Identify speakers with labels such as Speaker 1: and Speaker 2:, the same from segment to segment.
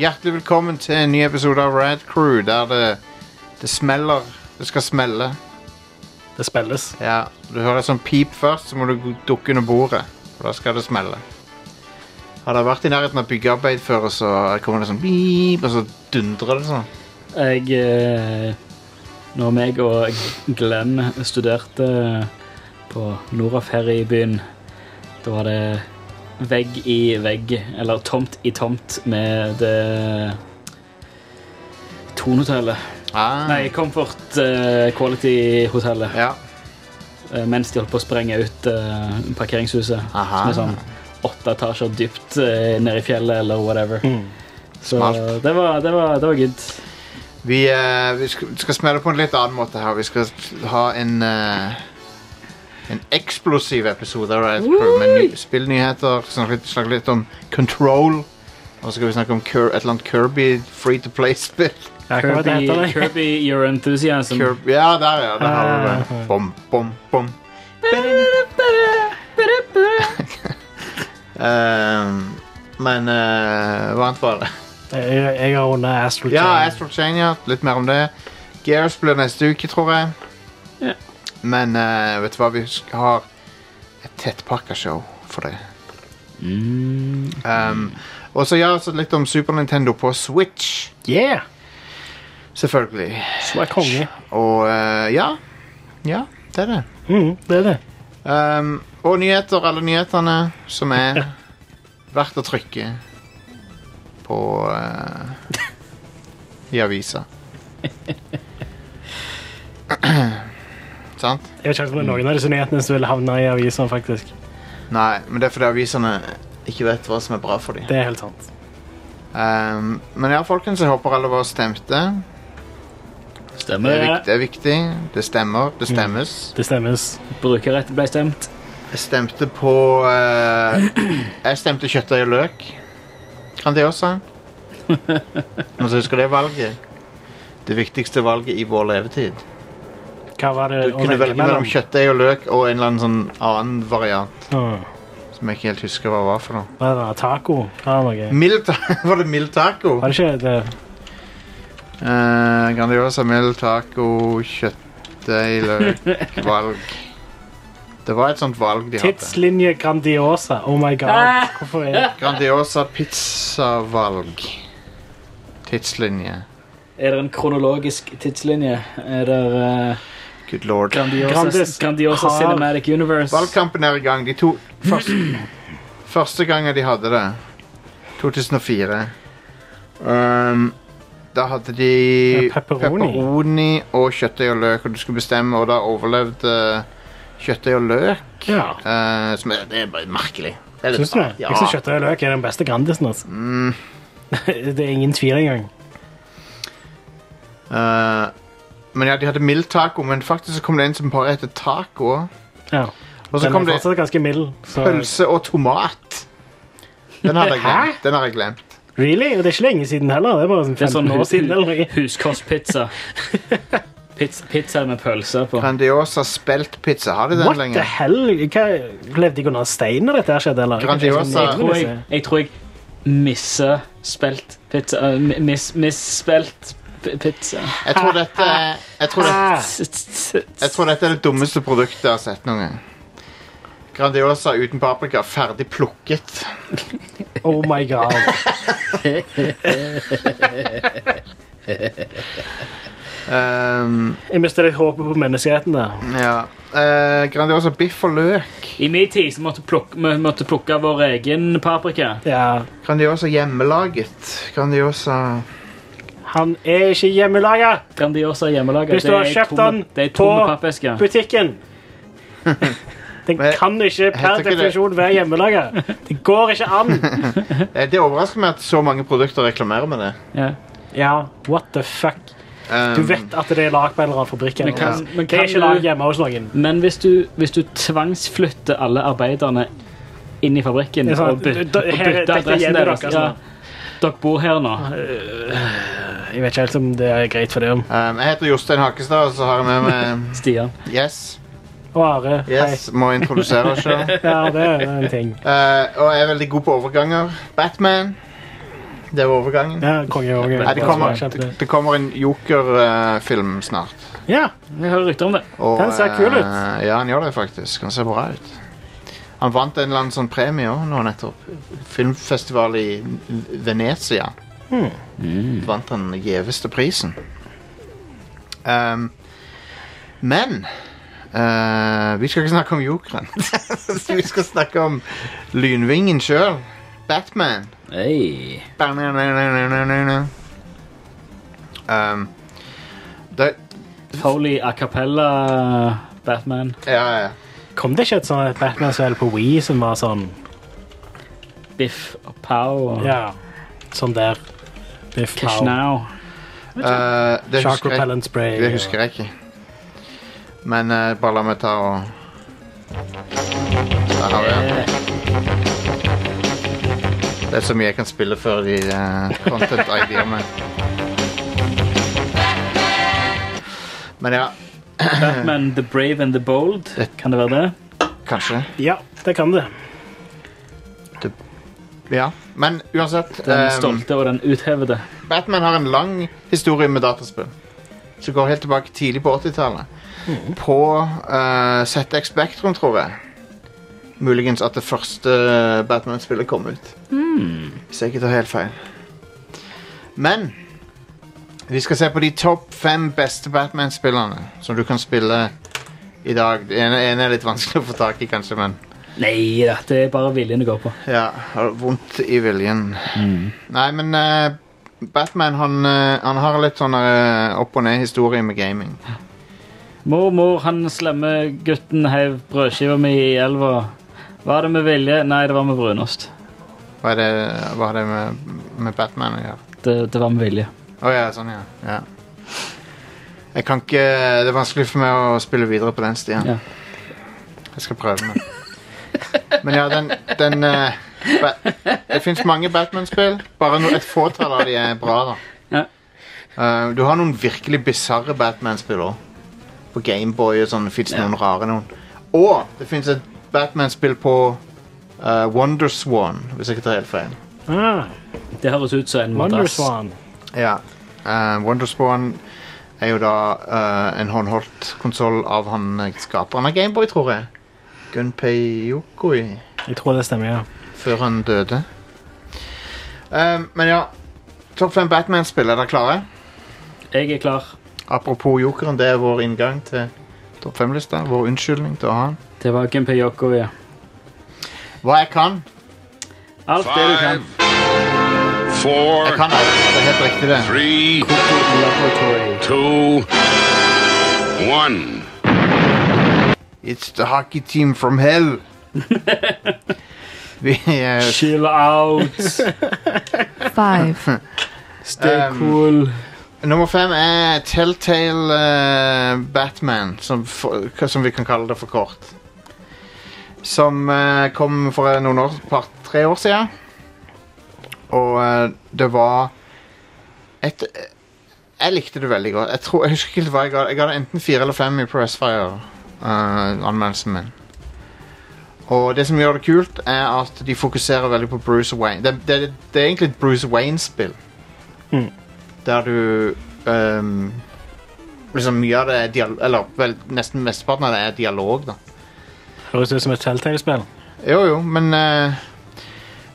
Speaker 1: Hjertelig velkommen til en ny episode av Rad Crew, der det, det smeller. Det skal smelle.
Speaker 2: Det spilles.
Speaker 1: Ja, Du hører sånn pip først, så må du dukke under bordet. For da skal det smelle. Har dere vært i nærheten av byggearbeid før, og så kommer det sånn pip, og så dundrer det sånn?
Speaker 2: Jeg eh, Når meg og Glenn studerte eh, på Noraf her i byen, da var det vegg i vegg, eller tomt i tomt, med det Tonhotellet.
Speaker 1: Ah,
Speaker 2: Nei, Comfort eh, Quality-hotellet.
Speaker 1: Ja.
Speaker 2: eh, Mens de holdt på å sprenge ut eh, parkeringshuset.
Speaker 1: Aha.
Speaker 2: Som er sånn åtte etasjer dypt eh, nede i fjellet, eller whatever. Så
Speaker 1: Smart.
Speaker 2: det var, det, var, det var good.
Speaker 1: Vi, eh, vi skal, skal smelle på en litt annen måte her. Vi skal ha en eh, En eksplosiv episode av Riot Crew med ny, spillnyheter. Snakke litt, snakke litt om Control. Og så skal vi snakke om Ker, et eller annet Kirby free to play-spill.
Speaker 3: Ja, hva var det
Speaker 2: Kirby,
Speaker 3: heter det?
Speaker 2: Kirby Your Enthusiasm.
Speaker 1: Kirby- Ja, der, ja. Der har du det.
Speaker 3: Ah.
Speaker 1: Bom, bom, bom. Ehm, men eh, hva annet var det?
Speaker 3: Jeg, jeg har rundet Astral
Speaker 1: Ja,
Speaker 3: Chain.
Speaker 1: Astral Chain, ja. Litt mer om det. Gears blir neste uke, tror jeg.
Speaker 2: Ja.
Speaker 1: Men eh, vet du hva? Vi sk- har et tettpakka show for det.
Speaker 2: Mm.
Speaker 1: Um, og så ja, så litt om Super Nintendo på Switch.
Speaker 3: Yeah!
Speaker 1: Selvfølgelig.
Speaker 3: Så er konge.
Speaker 1: Og eh, ja. Ja, det er det.
Speaker 3: Mm, det er det.
Speaker 1: Um, og nyheter, alle nyhetene som er verdt å trykke på eh, i avisa. Sant?
Speaker 3: Jeg vet ikke helt om det er noen av disse nyhetene som vil havne i aviser, faktisk.
Speaker 1: Nei, men det er fordi avisene ikke vet hva som er bra for dem.
Speaker 3: Det er helt sant.
Speaker 1: Um, men ja, folkens, jeg håper alle var stemte. Det er,
Speaker 2: Stemmer.
Speaker 1: viktig, det er viktig. Det stemmer. Det stemmes.
Speaker 3: Det stemmes.
Speaker 2: Brukerrett ble stemt.
Speaker 1: Jeg stemte på eh, Jeg stemte kjøttdeig og løk. Kan det også? Men så husker det valget. Det viktigste valget i vår levetid.
Speaker 3: Hva var det
Speaker 1: Du kunne velge mellom kjøttdeig og løk og en eller annen sånn annen variant.
Speaker 3: Mm.
Speaker 1: Som jeg ikke helt husker hva var for noe.
Speaker 3: Hva er det? Taco? Hva er det noe?
Speaker 1: Mild ta- var det mild taco?
Speaker 3: Var det ikke det?
Speaker 1: Eh, grandiosa mild taco, kjøttdeig, løk, valg. Det var et sånt valg de hadde.
Speaker 3: Tidslinje Grandiosa. Oh my god. Hvorfor er det?
Speaker 1: Grandiosa pizzavalg. Tidslinje.
Speaker 2: Er det en kronologisk tidslinje? Er det eh,
Speaker 1: Good lord.
Speaker 2: Grandiosa,
Speaker 3: Grandis-
Speaker 2: grandiosa
Speaker 3: har-
Speaker 2: Cinematic Universe?
Speaker 1: Valgkampen er i gang. De to første, første gangen de hadde det, 2004 Ehm, Da hadde de
Speaker 3: Ja, pepperoni.
Speaker 1: pepperoni og kjøttdeig og løk, og du skulle bestemme, og da overlevde kjøttdeig og løk.
Speaker 3: Ja.
Speaker 1: eh, som er, det er bare merkelig. Det er litt
Speaker 3: Syns du det?
Speaker 1: rart.
Speaker 3: Jeg synes kjøttdeig og løk er den beste Grandisen, altså.
Speaker 1: Mm.
Speaker 3: det er ingen tvil engang.
Speaker 1: Ja. Eh, men ja, de hadde mild taco, men faktisk så kom det en som bare het taco. også.
Speaker 3: Ja.
Speaker 1: Og så
Speaker 3: Den
Speaker 1: kom
Speaker 3: er
Speaker 1: det
Speaker 3: fortsatt ganske mild. Så.
Speaker 1: pølse og tomat. Den hadde jeg
Speaker 3: Hæ?
Speaker 1: glemt. Den har jeg glemt.
Speaker 3: Really? Og det er ikke lenge siden heller. Det er bare sånn
Speaker 2: Det er
Speaker 3: 15
Speaker 2: sånn
Speaker 3: år siden. eller noe.
Speaker 2: hu- huskostpizza. Pizza, pizza med pølser på.
Speaker 1: Grandiosa speltpizza. Har de den
Speaker 3: What the
Speaker 1: lenger?
Speaker 3: hell? Hva, levde jeg under stein når dette her skjedde? Eller?
Speaker 1: Grandiosa.
Speaker 3: Jeg
Speaker 2: Jeg tror
Speaker 1: sånn.
Speaker 2: jeg, jeg, tror jeg misser spelt pizza eh, mi- mis, Misspelt p- pizza.
Speaker 1: Jeg tror dette er, jeg tror det,
Speaker 3: Ah,
Speaker 1: jeg tror dette er det dummeste produktet jeg har sett noen gang. Grandiosa uten paprika, ferdig plukket.
Speaker 3: oh my god.
Speaker 1: Ehm,
Speaker 3: Jeg mistet litt håpet på menneskeheten der.
Speaker 1: ja. Eh, grandiosa biff og løk.
Speaker 2: I min tid så måtte plukke, vi måtte plukke vår egen paprika.
Speaker 3: Ja,
Speaker 1: Grandiosa hjemmelaget. Grandiosa
Speaker 3: han er ikke hjemmelaga.
Speaker 2: Grandiosa hjemmelaga.
Speaker 3: Hvis du
Speaker 2: Det
Speaker 3: har
Speaker 2: er
Speaker 3: kjøpt
Speaker 2: tomme-
Speaker 3: den
Speaker 2: Det er tomme
Speaker 3: på
Speaker 2: pappesker.
Speaker 3: Butikken. Den
Speaker 1: Men-
Speaker 3: kan ikke per
Speaker 1: Heter ikke det-
Speaker 3: definisjon være hjemmelaga. Det går ikke an.
Speaker 1: Eh, Det overrasker meg at så mange produkter reklamerer med det.
Speaker 2: Ja.
Speaker 3: Ja, what the fuck.
Speaker 1: Ehm,
Speaker 3: Du vet at det er lagd på en eller annen fabrikk.
Speaker 2: Men
Speaker 3: Eller
Speaker 2: kan,
Speaker 3: noe.
Speaker 2: men
Speaker 3: Det
Speaker 2: kan
Speaker 3: er ikke lagd
Speaker 2: du,
Speaker 3: hjemme hos noen.
Speaker 2: men hvis du, hvis du tvangsflytter alle arbeiderne inn i fabrikken
Speaker 3: Det er sant.
Speaker 2: og, byt,
Speaker 3: Da-
Speaker 2: og
Speaker 3: her-
Speaker 2: bytter
Speaker 3: dette er
Speaker 2: adressen
Speaker 3: hjemmet
Speaker 2: deres
Speaker 3: deres,
Speaker 2: ja,
Speaker 3: da.
Speaker 2: Dere bor her nå.
Speaker 3: Jeg vet ikke helt om det er greit for dem.
Speaker 1: ehm, jeg heter Jostein Hakestad, og så har jeg med meg
Speaker 2: Stian.
Speaker 1: Yes.
Speaker 3: Og Are.
Speaker 1: Yes, Må introdusere oss sjøl. Eh,
Speaker 3: Hei. Ja, det er en ting.
Speaker 1: og jeg er veldig god på overganger. Batman. Det var overgangen.
Speaker 3: Ja, konge òg.
Speaker 1: Nei, det, kommer, det, det kommer en Joker-film snart.
Speaker 3: Ja,
Speaker 2: Jeg hører rykter om det.
Speaker 1: Og,
Speaker 3: Den ser kul ut.
Speaker 1: eh, ja, han gjør det faktisk. Han ser bra ut. Han vant en eller annen sånn premie òg nå nettopp. Filmfestival i Venezia.
Speaker 3: Hmm.
Speaker 1: Vant han den gjeveste prisen. Ehm, men eh, vi skal ikke snakke om jokeren. vi skal snakke om lynvingen sjøl. Batman.
Speaker 2: Hey.
Speaker 1: Um, Ehm, det,
Speaker 2: Foley a cappella Batman.
Speaker 1: ja, ja.
Speaker 3: Kom det ikke et sånt et Batman-spill på Wii som var sånn
Speaker 2: Biff og Pow og
Speaker 3: Ja, sånn der Biff
Speaker 2: Cash
Speaker 3: Pow,
Speaker 2: Now.
Speaker 1: Eh, det
Speaker 3: Shark
Speaker 1: husker jeg-
Speaker 3: Repellent Spray
Speaker 1: Det husker jeg ikke. Men eh, bare la meg ta og Der har vi den. Det er så mye jeg kan spille før de eh, content ideer meg. Men ja,
Speaker 2: Batman The Brave and the Bold. Kan det være det?
Speaker 1: kanskje.
Speaker 3: Ja, det kan det.
Speaker 1: Ja. Men uansett
Speaker 2: Den
Speaker 1: eh,
Speaker 2: stolte og den uthevede.
Speaker 1: Batman har en lang historie med dataspill. Som går helt tilbake tidlig på 80-tallet. På eh, ZX Spectrum, tror jeg. Muligens at det første eh, Batman-spillet kom ut. Hvis jeg ikke tar helt feil. Men vi skal se på de topp fem beste Batman-spillerne som du kan spille i dag. Den ene, ene er litt vanskelig å få tak i, kanskje, men
Speaker 2: Nei da, det er bare viljen det går på.
Speaker 1: ja, har vondt i viljen. Nei, men eh, Batman han, eh, han har litt sånn eh, opp og ned-historie med gaming.
Speaker 2: Mormor, han slemme gutten heiv brødskiva mi i elva. Var det med vilje? Nei, det var med brunost.
Speaker 1: Hva er det, hva har det med, med Batman å gjøre?
Speaker 2: Det, det var med vilje.
Speaker 1: Å ja, sånn, ja. ja. Jeg kan ikke, Det er vanskelig for meg å spille videre på den stien.
Speaker 2: Ja.
Speaker 1: Jeg skal prøve, men Men ja, den, den eh, ba Det fins mange Batman-spill. Bare no, et fåtall av de er bra, da.
Speaker 2: Ja.
Speaker 1: Eh, du har noen virkelig bisarre Batman-spill òg. På Gameboy og sånn. Det fins noen rare noen. Og det fins et Batman-spill på eh, Wonderswan, hvis jeg ikke tar helt feil.
Speaker 3: Ah,
Speaker 2: Det høres ut som en madrass.
Speaker 3: Wonderswan.
Speaker 1: Ja. Eh, Wonderswan er jo da eh, en håndholdt konsoll av han eh, skaperen av Gameboy, tror jeg. Gunpei Yokoi.
Speaker 3: Jeg tror det stemmer, ja.
Speaker 1: Før han døde. Eh, men ja. Topp fem Batman-spill, er dere klare?
Speaker 2: Jeg er klar.
Speaker 1: Apropos jokeren, det er vår inngang til topp fem-lista. Vår unnskyldning til å ha den.
Speaker 2: Det var Gimpe Yoko, ja.
Speaker 1: Hva jeg kan.
Speaker 2: Alt det du kan.
Speaker 4: Five, four,
Speaker 1: Jeg kan alt. Det er helt riktig, det.
Speaker 4: three,
Speaker 2: Laboratory.
Speaker 4: two, one.
Speaker 1: It's the hockey team from hell. Vi eh,
Speaker 2: Chill out.
Speaker 5: five,
Speaker 2: Stay
Speaker 1: Um,
Speaker 2: cool.
Speaker 1: Nummer fem er Telltale eh, Batman, som, for, hva som vi kan kalle det for kort. Som eh, kom for noen år, par, tre år siden. Og eh, det var et eh, Jeg likte det veldig godt. Jeg, tror, jeg husker ikke helt hva jeg ga. det. Jeg ga det enten fire eller fem i Pressfire. eh, anmeldelsen min. Og det som gjør det kult, er at de fokuserer veldig på Bruce Wayne. Det, det, det er egentlig et Bruce Wayne-spill. Der du ehm, Liksom mye av det er dialog Eller vel, nesten mesteparten av det er dialog, da.
Speaker 3: Høres ut som et Telltale-spill.
Speaker 1: Jo, jo, men eh,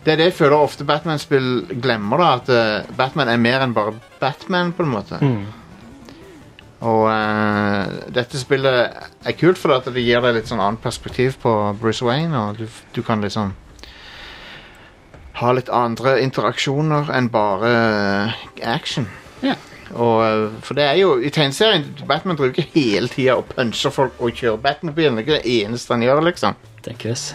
Speaker 1: Det er det jeg føler ofte Batman-spill glemmer, da. At eh, Batman er mer enn bare Batman, på en måte.
Speaker 3: Hmm.
Speaker 1: Og eh, dette spillet er kult fordi at det gir deg litt sånn annet perspektiv på Bruce Wayne, og du, du kan liksom ha litt andre interaksjoner enn bare eh, action.
Speaker 2: Ja.
Speaker 1: Og, eh, for det er jo I tegneserien Batman driver ikke hele tida og puncher folk og kjører Batmobilen. Det er ikke det eneste han gjør, liksom.
Speaker 2: Tenk hvis.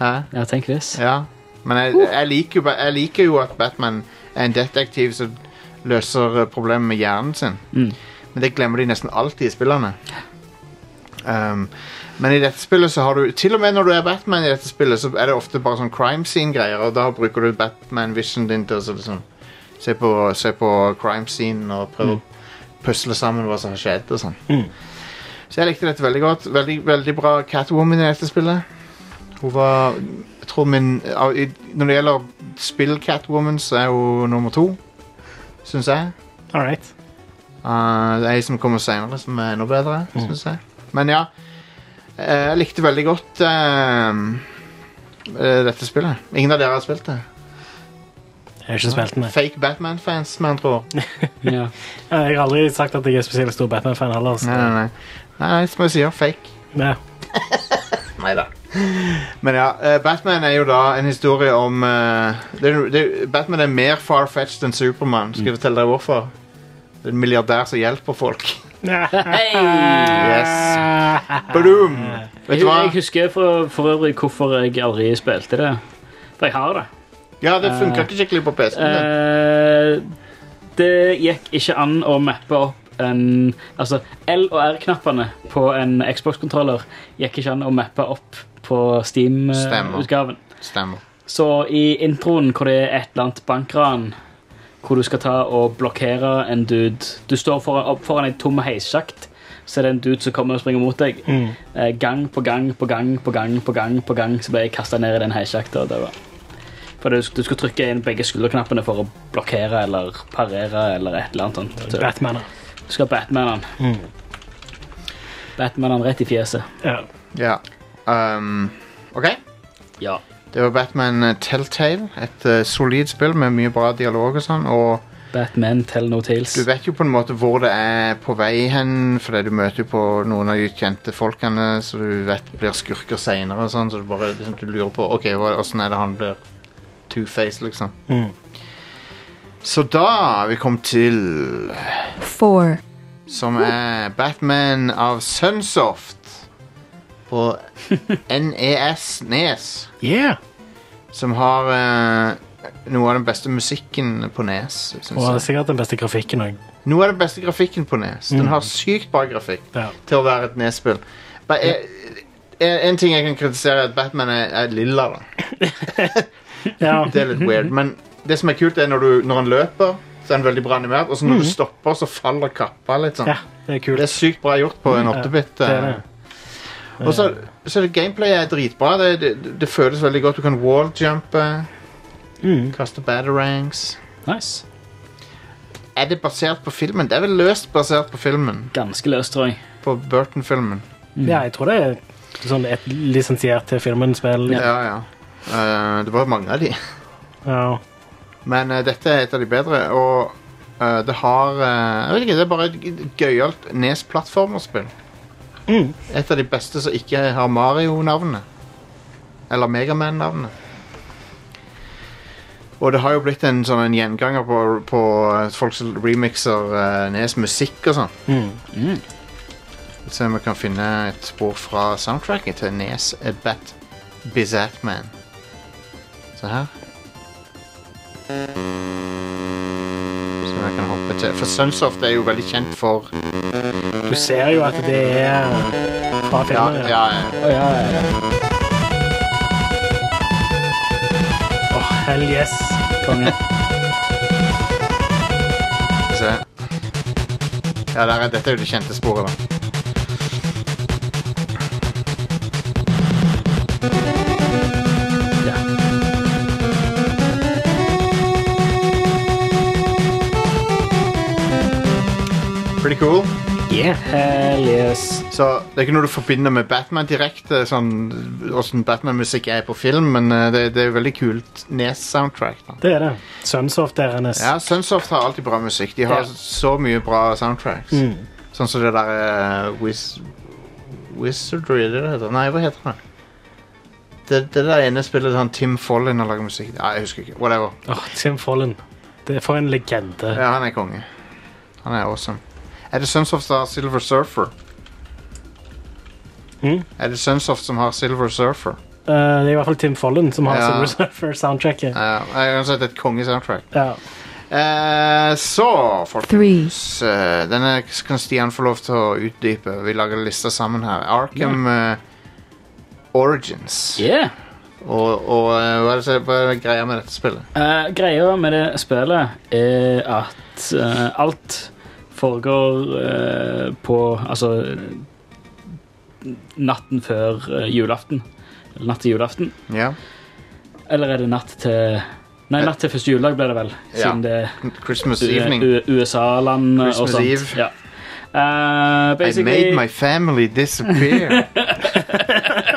Speaker 1: Hæ?
Speaker 2: Ja, tenk hvis.
Speaker 1: Ja, men jeg, jeg, liker, jo ba- jeg liker jo at Batman er en detektiv som løser eh, problemer med hjernen sin.
Speaker 2: Mm.
Speaker 1: Men det glemmer de nesten alltid i spillene. Um, men i dette spillet så har du Til og med når du er Batman i dette spillet, så er det ofte bare sånn crime scene-greier, og da bruker du Batman-vision din til å så liksom se på, se på crime scene og prøve å pusle sammen hva som har skjedd og sånn. Så jeg likte dette veldig godt. Veldig, veldig bra Catwoman i dette spillet. Hun var jeg tror min av- i- Når det gjelder spill Catwoman, så er hun nummer to, syns jeg.
Speaker 3: All right.
Speaker 1: Uh, det er ei som kommer seinere, som er enda bedre,
Speaker 3: Mm.
Speaker 1: synes jeg. Men ja. eh, Jeg likte veldig godt eh, eh, dette spillet. Ingen av dere har spilt det?
Speaker 3: Jeg har ikke spilt den. jeg.
Speaker 1: Fake Batman-fans, med andre ord.
Speaker 2: Ja.
Speaker 3: Jeg har aldri sagt at jeg er spesielt stor Batman-fan heller. Så.
Speaker 1: Nei, nei, nei. Nei, nei, som jeg sier, fake.
Speaker 3: Nei.
Speaker 1: Men ja, eh, Batman er jo da en historie om eh, det, er- det, er- Batman er mer far-fetched enn Supermann. Skal
Speaker 2: Mm.
Speaker 1: jeg fortelle deg hvorfor? Det er en milliardær som hjelper folk. Yes. Badoom! Vet
Speaker 2: Jeg,
Speaker 1: du hva?
Speaker 2: Eh, jeg husker for, for øvrig hvorfor jeg aldri spilte det. For jeg har det.
Speaker 1: Ja, det funka ikke skikkelig på PC-en. det.
Speaker 2: Eh, det gikk ikke an å mappe opp en Altså, L- og R-knappene på en Xbox-kontroller gikk ikke an å mappe opp på
Speaker 1: Stemmer.
Speaker 2: Steam-utgaven.
Speaker 1: Stemmer.
Speaker 2: Så i introen hvor det er et eller annet bankran hvor du skal ta og blokkere en dude Du står foran, opp foran en tom heissjakt, så er det en dude som kommer og springer mot deg.
Speaker 3: Mm.
Speaker 2: Eh, gang på gang på gang på gang på gang på gang så ble jeg kasta ned i den heisjakta. og det var- For du, du skulle trykke inn begge skulderknappene for å blokkere eller parere eller et eller annet sånt. Så Du
Speaker 3: Batman.
Speaker 2: skal Batman han.
Speaker 3: Mm.
Speaker 2: Batman han rett i fjeset.
Speaker 3: Ja.
Speaker 1: Ja. Um, OK.
Speaker 2: Ja.
Speaker 1: Det var Batman eh, Telltale. Et eh, solid spill med mye bra dialog og sånn. Og
Speaker 2: Batman tell no
Speaker 1: du
Speaker 2: tales.
Speaker 1: vet jo på en måte hvor det er på vei hen, fordi du møter jo på noen av de kjente folkene så du vet blir skurker seinere og sånn, så du bare liksom, du lurer på OK, hva- åssen er det han blir two-face, liksom.
Speaker 3: Mm.
Speaker 1: Så da er vi kommet til
Speaker 5: four,
Speaker 1: Som er Batman av Sunsoft på E NES Nes.
Speaker 3: Yeah.
Speaker 1: Som har eh, noe av den beste musikken på Nes. Synes
Speaker 3: Og
Speaker 1: jeg.
Speaker 3: sikkert den beste grafikken òg.
Speaker 1: Noe av den beste grafikken på Nes. Den har sykt bra grafikk
Speaker 3: Ja.
Speaker 1: til å være et Nes-spill. Ba- eh, En en ting jeg kan kritisere, er at Batman er, er lilla. da
Speaker 3: ja.
Speaker 1: Det er litt weird. Men det som er kult, er når, du, når han løper, så er han veldig bra animert. Og så når du stopper, så faller kappa litt sånn.
Speaker 3: Mhm. Ja, det er kult.
Speaker 1: Det er sykt bra gjort på en 8-bit.
Speaker 3: Det er
Speaker 1: eh,
Speaker 3: det.
Speaker 1: Og så, så er det gameplayet er dritbra. Det, det, det føles veldig godt. Du kan walljumpe,
Speaker 3: Mm.
Speaker 1: kaste batterangs.
Speaker 2: Nice.
Speaker 1: Er det basert på filmen? Det er vel løst basert på filmen.
Speaker 2: Ganske løst, tror jeg.
Speaker 1: På Burton-filmen.
Speaker 3: Ja, jeg tror det er sånn et lisensiert til filmen spill.
Speaker 1: Ja, ja. Eh, det var mange av de.
Speaker 3: Ja.
Speaker 1: Men eh, dette er et av de bedre, og eh, det har eh, Jeg vet ikke, det er bare et g- gøyalt Nes-plattformerspill.
Speaker 3: Mm.
Speaker 1: Et av de beste som ikke har Mario-navnet. Eller Megaman-navnet. Og det har jo blitt en sånn en gjenganger på, på eh, folk som remixer eh, Nes musikk og sånn.
Speaker 3: Mm.
Speaker 1: Skal vi Se om vi kan finne et spor fra soundtracket til Nes eh, Bat Bizatman. Se her. Så jeg kan hoppe til For Sunsoft er jo veldig kjent for
Speaker 3: Du ser jo at det er fra
Speaker 1: Ja,
Speaker 3: filmen.
Speaker 1: ja, ja.
Speaker 2: Å, ja, ja, ja.
Speaker 3: Åh, hell yes.
Speaker 2: Konge.
Speaker 1: Skal vi se. Ja, der er, dette er jo det kjente sporet, da.
Speaker 2: Ja.
Speaker 1: Pretty cool.
Speaker 2: Hell yes.
Speaker 1: Så Det er ikke noe du forbinder med Batman direkte, sånn åssen Batman-musikk er på film, men eh, det, det er jo veldig kult Nes-soundtrack. da.
Speaker 3: Det er det. Sunsoft er hennes.
Speaker 1: Ja, Sunsoft har alltid bra musikk. De har
Speaker 3: Ja.
Speaker 1: så mye bra soundtracks.
Speaker 3: Mm.
Speaker 1: Sånn som det der eh, Wiz Wizardry, er det det heter? Nei, hva heter det? Det, det der ene spillet han Tim Follin har lagd musikk til. Nei, jeg husker ikke. Whatever.
Speaker 3: Åh, Tim Follen. Det er for en legende.
Speaker 1: Ja, han er konge. Han er awesome. Er det Sunsoft som har Silver Surfer?
Speaker 3: Mm.
Speaker 1: Er det Sunsoft som har Silver Surfer?
Speaker 3: Eh, det er i hvert fall Tim Follen som har
Speaker 1: Ja.
Speaker 3: Silver Surfer-soundtracket.
Speaker 1: Ja, jeg har sett et kongesoundtrack.
Speaker 3: Ja.
Speaker 1: Eh, så,
Speaker 5: three,
Speaker 1: folkens eh, Denne kan Stian få lov til å utdype. Vi lager lista sammen her. Arkham eh, Origins.
Speaker 2: Yeah.
Speaker 1: Og, og eh, hva, er det, som- hva er det greia med dette spillet?
Speaker 2: Eh, greia med det spillet er at eh, alt foregår eh, på Altså natten før eh, julaften. Eller natt til julaften.
Speaker 1: Ja.
Speaker 2: Eller er det natt til Nei, natt til første juledag ble det vel. Siden det er
Speaker 1: Christmas evening.
Speaker 2: U- U- USA-land og
Speaker 1: Christmas
Speaker 2: sånt.
Speaker 1: Eve.
Speaker 2: Ja. Eh,
Speaker 1: I made my
Speaker 2: basically
Speaker 1: family disappear.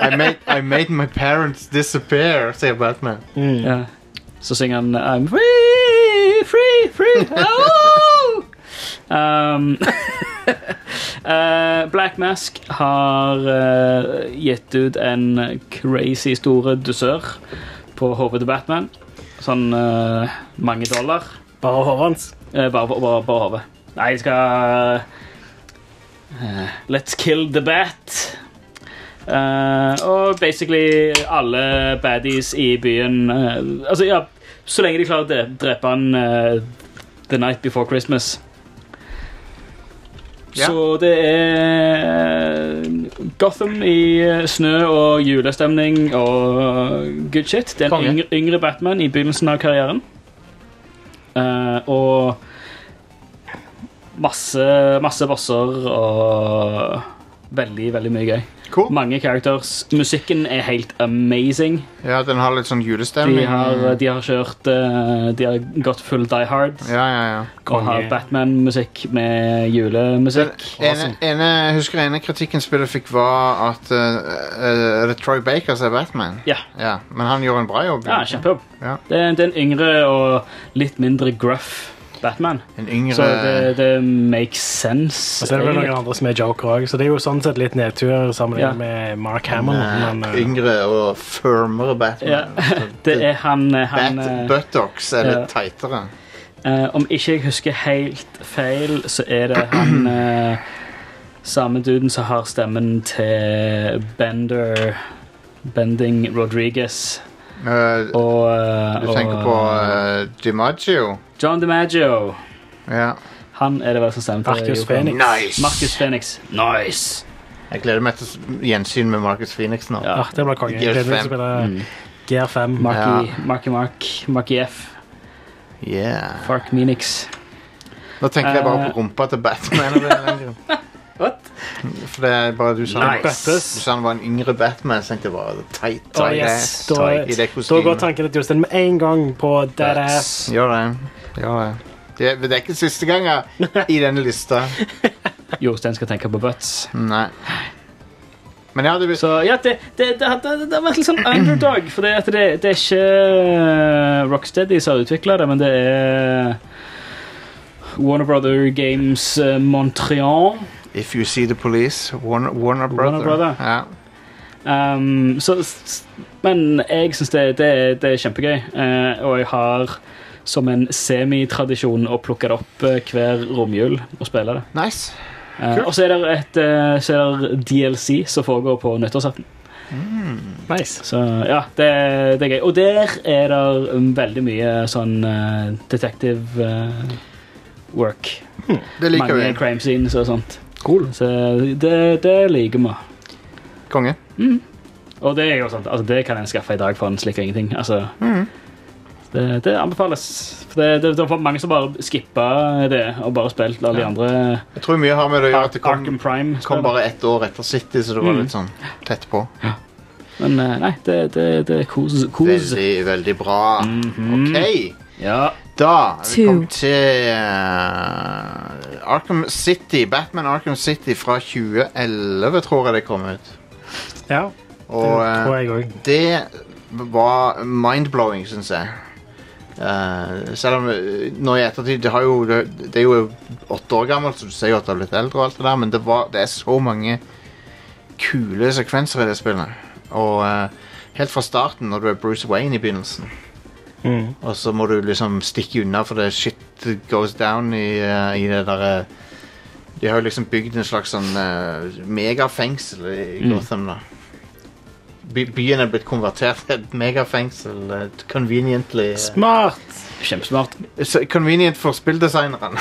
Speaker 1: I, made, I made my parents disappear, sier Batman.
Speaker 3: Mm.
Speaker 2: ja. Så synger han I'm free, free, free oh! um, eh, Black Mask har eh, gitt ut en crazy store dusør på hodet til Batman. Sånn eh, mange dollar.
Speaker 3: Bare håret hans.
Speaker 2: Eh, bare bare, bare hodet. Nei, jeg skal eh, Let's kill the bat. Eh, og basically alle baddies i byen eh, Altså, ja, så lenge de klarer å dre- drepe han eh, the night before Christmas.
Speaker 1: Ja.
Speaker 2: Så det er eh, Gotham i eh, snø og julestemning og good shit. Det er en
Speaker 1: Konge.
Speaker 2: yngre, yngre Batman i begynnelsen av karrieren. Eh, og masse, masse bosser og veldig, veldig mye gøy.
Speaker 1: Cool.
Speaker 2: Mange characters. Musikken er helt amazing.
Speaker 1: Ja, den har litt sånn
Speaker 2: De
Speaker 1: julestemning.
Speaker 2: har, de har kjørt eh, De har gått full Die Hard
Speaker 1: Ja, ja, ja.
Speaker 2: og har Batman-musikk med
Speaker 1: Den
Speaker 2: julemusikk.
Speaker 1: ene, ene, jeg husker ene kritikken spillet fikk, var at eh, eh, det er Troy Baker som er Batman.
Speaker 2: Ja.
Speaker 1: Ja, men han gjorde en bra jobb.
Speaker 2: Ja, kjempejobb.
Speaker 1: Ja.
Speaker 2: Det, er- det er en yngre og litt mindre gruff Batman.
Speaker 1: En yngre
Speaker 2: Så det, det makes sense.
Speaker 3: Og så er det vel
Speaker 2: egentlig.
Speaker 3: noen andre som er joker òg, så det er jo sånn sett litt nedtur
Speaker 2: Ja.
Speaker 3: sammenlignet med Mark Hamill.
Speaker 1: Nei,
Speaker 3: Men, eh,
Speaker 1: Yngre og firmere
Speaker 2: Ja,
Speaker 1: Batman.
Speaker 2: det er han, han
Speaker 1: Bat
Speaker 2: eh,
Speaker 1: buttocks er litt tightere.
Speaker 2: eh, Om ikke jeg husker helt feil, så er det han eh, samme duden som har stemmen til Bender Bending Rodriguez
Speaker 1: Eh,
Speaker 2: og eh,
Speaker 1: du
Speaker 2: og- eh,
Speaker 1: tenker på uh, DiMaggio.
Speaker 2: John DiMaggio.
Speaker 1: Ja.
Speaker 2: Han er det vel som stemte.
Speaker 3: Marcus Phoenix.
Speaker 1: Nice!
Speaker 2: Marcus Phoenix. Nice!
Speaker 1: Jeg gleder meg til s- gjensyn med Marcus Phoenix nå.
Speaker 2: Ja. Mm.
Speaker 3: ah, det blir konge.
Speaker 1: Gear Mm.
Speaker 3: Gleder meg til å spille Gear 5.
Speaker 2: Marky,
Speaker 1: Ja.
Speaker 2: Marky Mark, Marky F,
Speaker 1: Yeah.
Speaker 2: Fark Menix.
Speaker 1: Nå tenker jeg bare
Speaker 2: Eh.
Speaker 1: på rumpa til Batman. av en eller annen grunn.
Speaker 2: What?
Speaker 1: For det er bare du sa
Speaker 2: Nice.
Speaker 1: Du sa han var en yngre Batman. Så tenkte jeg bare teit, teit,
Speaker 3: Oh, yes.
Speaker 1: teit,
Speaker 3: Da-
Speaker 1: i det
Speaker 3: Da går
Speaker 1: kostymet.
Speaker 3: tankene til Jostein med en gang på Deadass.
Speaker 1: Gjør det. Gjør det. Det, det er ikke siste gang jeg er i denne lista.
Speaker 2: Jostein skal tenke på butts.
Speaker 1: Nei. Men ja, det vil
Speaker 2: Så ja, det, det, det, det, det har vært litt sånn underdog, for det, at det, det er ikke Rocksteady som har utvikla det, men det er Warner Brother Games eh, Montreal.
Speaker 1: If You See The Police, Warner, Warner Brother.
Speaker 2: Brother.
Speaker 1: Ja.
Speaker 2: Um, så, s- men jeg syns det, det, er- det er kjempegøy, eh, og jeg har som en semitradisjon å plukke det opp eh, hver romjul og spille det.
Speaker 1: Nice.
Speaker 2: Eh, og så er det et eh, så er det DLC som foregår på nyttårsaften.
Speaker 1: Mm.
Speaker 3: Nice.
Speaker 2: Så ja, det, det er gøy. Og der er det veldig mye sånn eh, detective eh, work.
Speaker 1: Det liker
Speaker 2: Mange
Speaker 1: vi.
Speaker 2: crime scenes og sånt. Så det, det liker vi.
Speaker 1: Konge.
Speaker 2: Og det er jo sånt, altså det kan en skaffe i dag for en slikk og ingenting. Altså,
Speaker 1: Mm.
Speaker 2: det, det anbefales. For det, det, det var mange som bare skippa det og bare spilte alle de andre
Speaker 1: Jeg tror mye har med det å gjøre at det kom,
Speaker 2: Arkham Prime.
Speaker 1: kom bare ett år etter City, så det var
Speaker 2: Mm.
Speaker 1: litt sånn tett på.
Speaker 2: Men eh, nei, det, det, det er kos. kos.
Speaker 1: Veldig, veldig bra.
Speaker 2: Mhm.
Speaker 1: OK.
Speaker 2: Ja.
Speaker 1: Da er vi
Speaker 5: Two.
Speaker 1: kommet til eh, Arkham City. Batman Arkham City fra 2011, tror jeg det kom ut.
Speaker 3: Ja,
Speaker 1: Og
Speaker 3: det
Speaker 1: eh,
Speaker 3: tror jeg òg.
Speaker 1: det var mind-blowing, syns jeg. Eh, selv om eh, nå i ettertid det, har jo, det, det er jo åtte år gammelt, så du ser jo at det har blitt eldre, og alt det der, men det, var, det er så mange kule sekvenser i det spillet. Og eh, helt fra starten, når du er Bruce Wayne i begynnelsen,
Speaker 3: Mm.
Speaker 1: og så må du liksom stikke unna, for det shit goes down i, eh, i det derre De har jo liksom bygd en slags sånn eh, megafengsel i i Gotham, da. By byen er blitt konvertert til et megafengsel. eh, conveniently eh,
Speaker 3: Smart!
Speaker 2: Kjempesmart.
Speaker 1: så Convenient for spilldesigneren.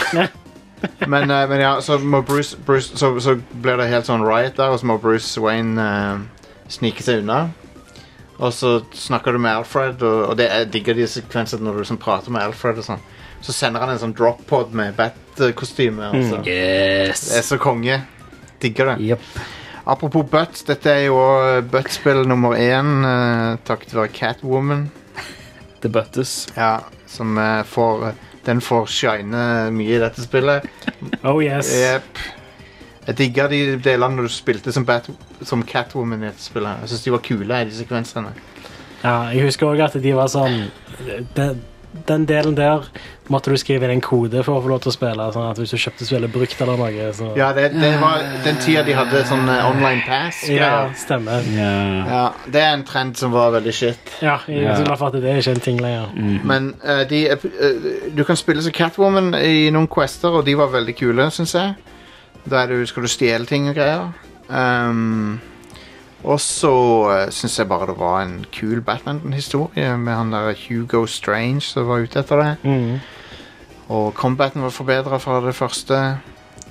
Speaker 1: men, eh, men ja, så må Bruce, Bruce så, så blir det helt sånn riot der, og så må Bruce Wayne eh, snike seg unna. Og så snakker du med Alfred, og, og det, jeg digger de sekvensene når du liksom prater med Alfred. og sånn. Så sender han en sånn drop-pod med Bat-kostyme. og så- Det er
Speaker 2: Mm. Yes.
Speaker 1: så konge. Digger det.
Speaker 2: Jepp.
Speaker 1: Apropos Butt, dette er jo Butt-spill nummer én eh, takket være Catwoman.
Speaker 2: The Buttes.
Speaker 1: Ja, som eh, får Den får shine mye i dette spillet.
Speaker 3: Oh yes.
Speaker 1: Jep. Jeg digga de delene når du spilte som, Bat som Catwoman i dette spillet. her. Jeg synes de var kule, i de sekvensene.
Speaker 3: Ja, jeg husker òg at de var sånn den, den delen der måtte du skrive inn en kode for å få lov til å spille. Sånn at hvis du kjøpte spillet brukt eller noe, så
Speaker 1: Ja, det, det var den tida de hadde sånn eh, online pass.
Speaker 3: Ja,
Speaker 1: greier.
Speaker 3: stemmer.
Speaker 2: Ja.
Speaker 1: Ja, det er en trend som var veldig shit.
Speaker 3: Ja, jeg
Speaker 2: Ja.
Speaker 3: er glad for at det er ikke en ting lenger.
Speaker 2: Mhm.
Speaker 1: Men eh, de, eh, eh, du kan spille som Catwoman i noen quester, og de var veldig kule, syns jeg. Da er du, skal du stjele ting og greier. Ehm, og så uh, syns jeg bare det var en kul Batman-historie med han der Hugo Strange som var ute etter det.
Speaker 3: Mm.
Speaker 1: Og combaten var forbedra fra det første.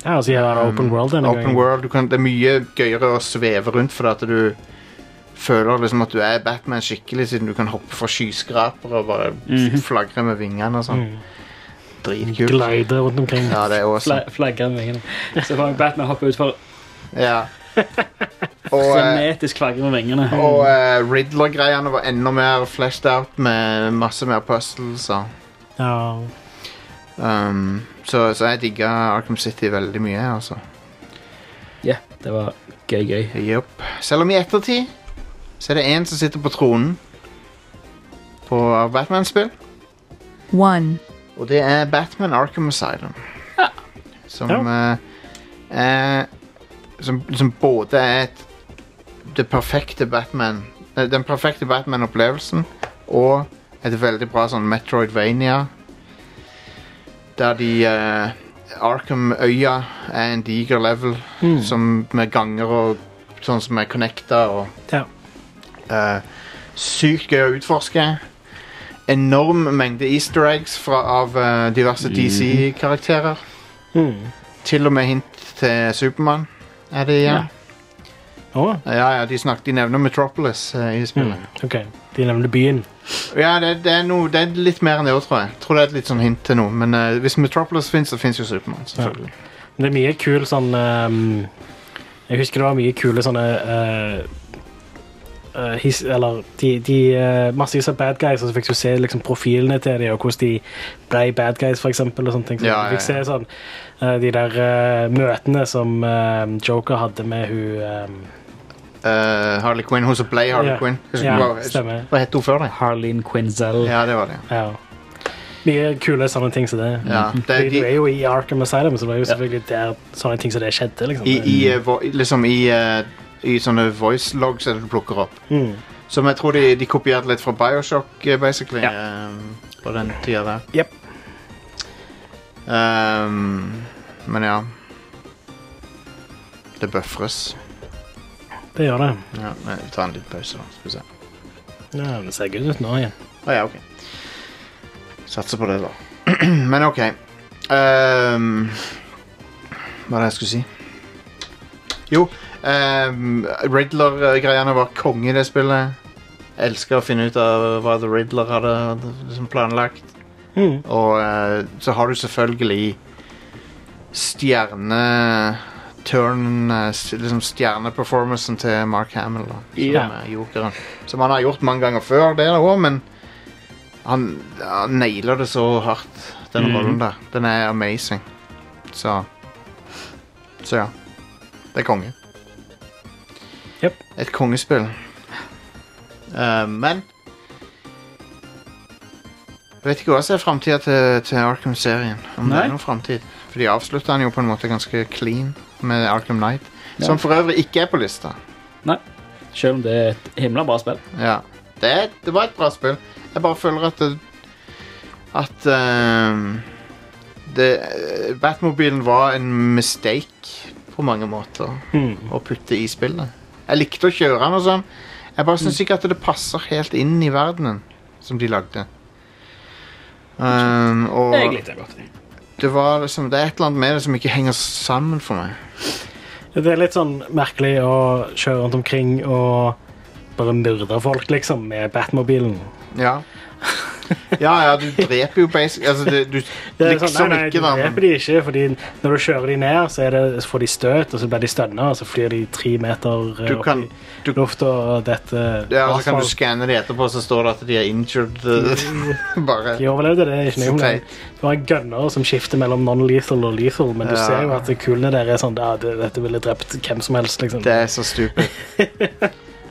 Speaker 3: Ja, og så gjør det open world denne
Speaker 1: Um, Open
Speaker 3: gangen.
Speaker 1: world, du kan, Det er mye gøyere å sveve rundt fordi at du føler liksom at du er Batman skikkelig, siden du kan hoppe fra skyskraper og bare
Speaker 2: Mhm.
Speaker 1: flagre med vingene og sånn.
Speaker 3: Mm.
Speaker 1: Dritkult.
Speaker 3: Glider rundt omkring.
Speaker 1: Ja, det er awesome.
Speaker 2: Fla- Flagrer med vingene. Så kan Batman hoppe utfor
Speaker 1: Ja. Og, eh,
Speaker 2: frenetisk flagre med vingene.
Speaker 1: og eh, Riddler-greiene var enda mer fleshed out med masse mer puzzles. og,
Speaker 3: Ja.
Speaker 1: Um, så, så jeg digga Arkham City veldig mye. altså.
Speaker 2: Ja, det var gøy, gøy.
Speaker 1: Yep. Selv om i ettertid så er det én som sitter på tronen på Batman-spill,
Speaker 5: One.
Speaker 1: og det er Batman Arkham Asylum. Som eh, er som, som både er et, det perfekte Batman eh, Den perfekte Batman-opplevelsen og et veldig bra sånn Metroidvania. Der de eh, Arkham-øya er en diger level
Speaker 3: Mm.
Speaker 1: som med ganger og sånn som er connecta og
Speaker 3: Ja.
Speaker 1: Eh, Sykt gøy å utforske. Enorm mengde easter eggs fra, av eh, diverse DC-karakterer.
Speaker 3: Mm.
Speaker 1: Til og med hint til Supermann er det igjen.
Speaker 3: Å, Mm.
Speaker 1: Ja, ja, de, snakket, de nevner Metropolis eh, i spillet.
Speaker 3: OK. De nevnte byen.
Speaker 1: Ja, det, det, er noe, det er litt mer enn det òg, tror jeg. Tror det er et litt sånn hint til noe. Men eh, hvis Metropolis fins, så fins jo Supermann. selvfølgelig.
Speaker 3: Men Det er mye kul sånn ehm, Jeg husker det var mye kule sånne eh, eh, his, Eller de, de eh, massevis av bad guys, og så fikk du se liksom, profilene til dem, og hvordan de ble bad guys, for eksempel. Og sånne ting. Så
Speaker 1: Ja, ja,
Speaker 3: du fikk se sånn eh, de der eh, møtene som eh, Joker hadde med hun ehm,
Speaker 1: Eh, Harley Quinn, hun som ble Harley
Speaker 3: Ja.
Speaker 1: Quinn. Husker
Speaker 3: Ja,
Speaker 1: du hva-
Speaker 3: stemmer.
Speaker 1: Hva het hun før det?
Speaker 2: Harleen Quinzel.
Speaker 1: Ja, det var det.
Speaker 3: Ja. Mye kule sånne ting som det.
Speaker 1: Ja, det
Speaker 3: Fordi Du
Speaker 1: de,
Speaker 3: er jo i Arkham Asylum, så det var jo selvfølgelig der sånne ting som det skjedde. liksom.
Speaker 1: i, i, eh, vo, liksom i, eh, I sånne voice logs er det du plukker opp.
Speaker 3: Mm.
Speaker 1: Som jeg tror de, de kopierte litt fra Bioshock, eh, basically.
Speaker 3: Ja.
Speaker 1: eh, på den tida der.
Speaker 3: Jep.
Speaker 1: Ehm, men ja. Det bøfres.
Speaker 3: Det gjør det.
Speaker 1: Ja, men vi tar en liten pause, da. Skal vi se.
Speaker 3: Ja, det ser good ut nå igjen.
Speaker 1: Å ja, ok. Satser på det, da. Men OK. Ehm, hva var det jeg skulle si? Jo, ehm, Riddler-greiene var konge i det spillet. Jeg elsker å finne ut av hva The Riddler hadde liksom planlagt.
Speaker 3: Mm.
Speaker 1: Og eh, så har du selvfølgelig stjerneturnen eh, s- Liksom stjerneperformancen til Mark Hamill, da. Som
Speaker 2: Ja.
Speaker 1: er jokeren. Som han har gjort mange ganger før, det òg, men han, han nailer det så hardt, den
Speaker 2: Mhm.
Speaker 1: rollen der. Den er amazing. Så Så ja. Det er konge.
Speaker 3: Jep.
Speaker 1: Et kongespill. Eh, men jeg vet ikke hva som er framtida til, til Arkham-serien. Om det
Speaker 2: Nei.
Speaker 1: er noen fremtid. For de avslutta den jo på en måte ganske clean med Arkham Knight.
Speaker 2: Ja.
Speaker 1: Som for øvrig ikke er på lista.
Speaker 2: Selv om det er et himla bra spill.
Speaker 1: Ja. Det, er- det var et bra spill. Jeg bare føler at det, At ehm, det, eh, Batmobilen var en mistake på mange måter
Speaker 3: Mm.
Speaker 1: å putte i spillet. Jeg likte å kjøre den og sånn. Jeg bare
Speaker 3: Hmm.
Speaker 1: syns ikke at det passer helt inn i verdenen som de lagde. Ehm, og
Speaker 2: Jeg likte det godt.
Speaker 1: det, var liksom, det er et eller annet med det som ikke henger sammen for meg.
Speaker 3: Det er litt sånn merkelig å kjøre rundt omkring og bare myrde folk, liksom, med Batmobilen.
Speaker 1: Ja. Ja, ja, du dreper jo basic altså, det, Du
Speaker 3: Det er
Speaker 1: liksom
Speaker 3: sånn, nei, nei,
Speaker 1: ikke, da.
Speaker 3: Du
Speaker 1: men-
Speaker 3: dreper de ikke, fordi når du kjører de ned, så, er det, så får de støt, og så blir de stønna, og så flyr de tre meter eh,
Speaker 1: Du
Speaker 3: opp
Speaker 1: kan
Speaker 3: i
Speaker 1: du,
Speaker 3: lufta, og dette
Speaker 1: ja, så kan du
Speaker 3: Asfalt.
Speaker 1: skanne de etterpå, så står det at de er injured. eh, Bare
Speaker 3: De overlevde det, er ikke
Speaker 1: så
Speaker 3: noe
Speaker 1: teit.
Speaker 3: med. Du har gunner som skifter mellom non-lethal og lethal, men du
Speaker 1: Ja.
Speaker 3: ser jo at kulene der er sånn ja, det, Dette ville drept hvem som helst, liksom.
Speaker 1: Det er så stupid.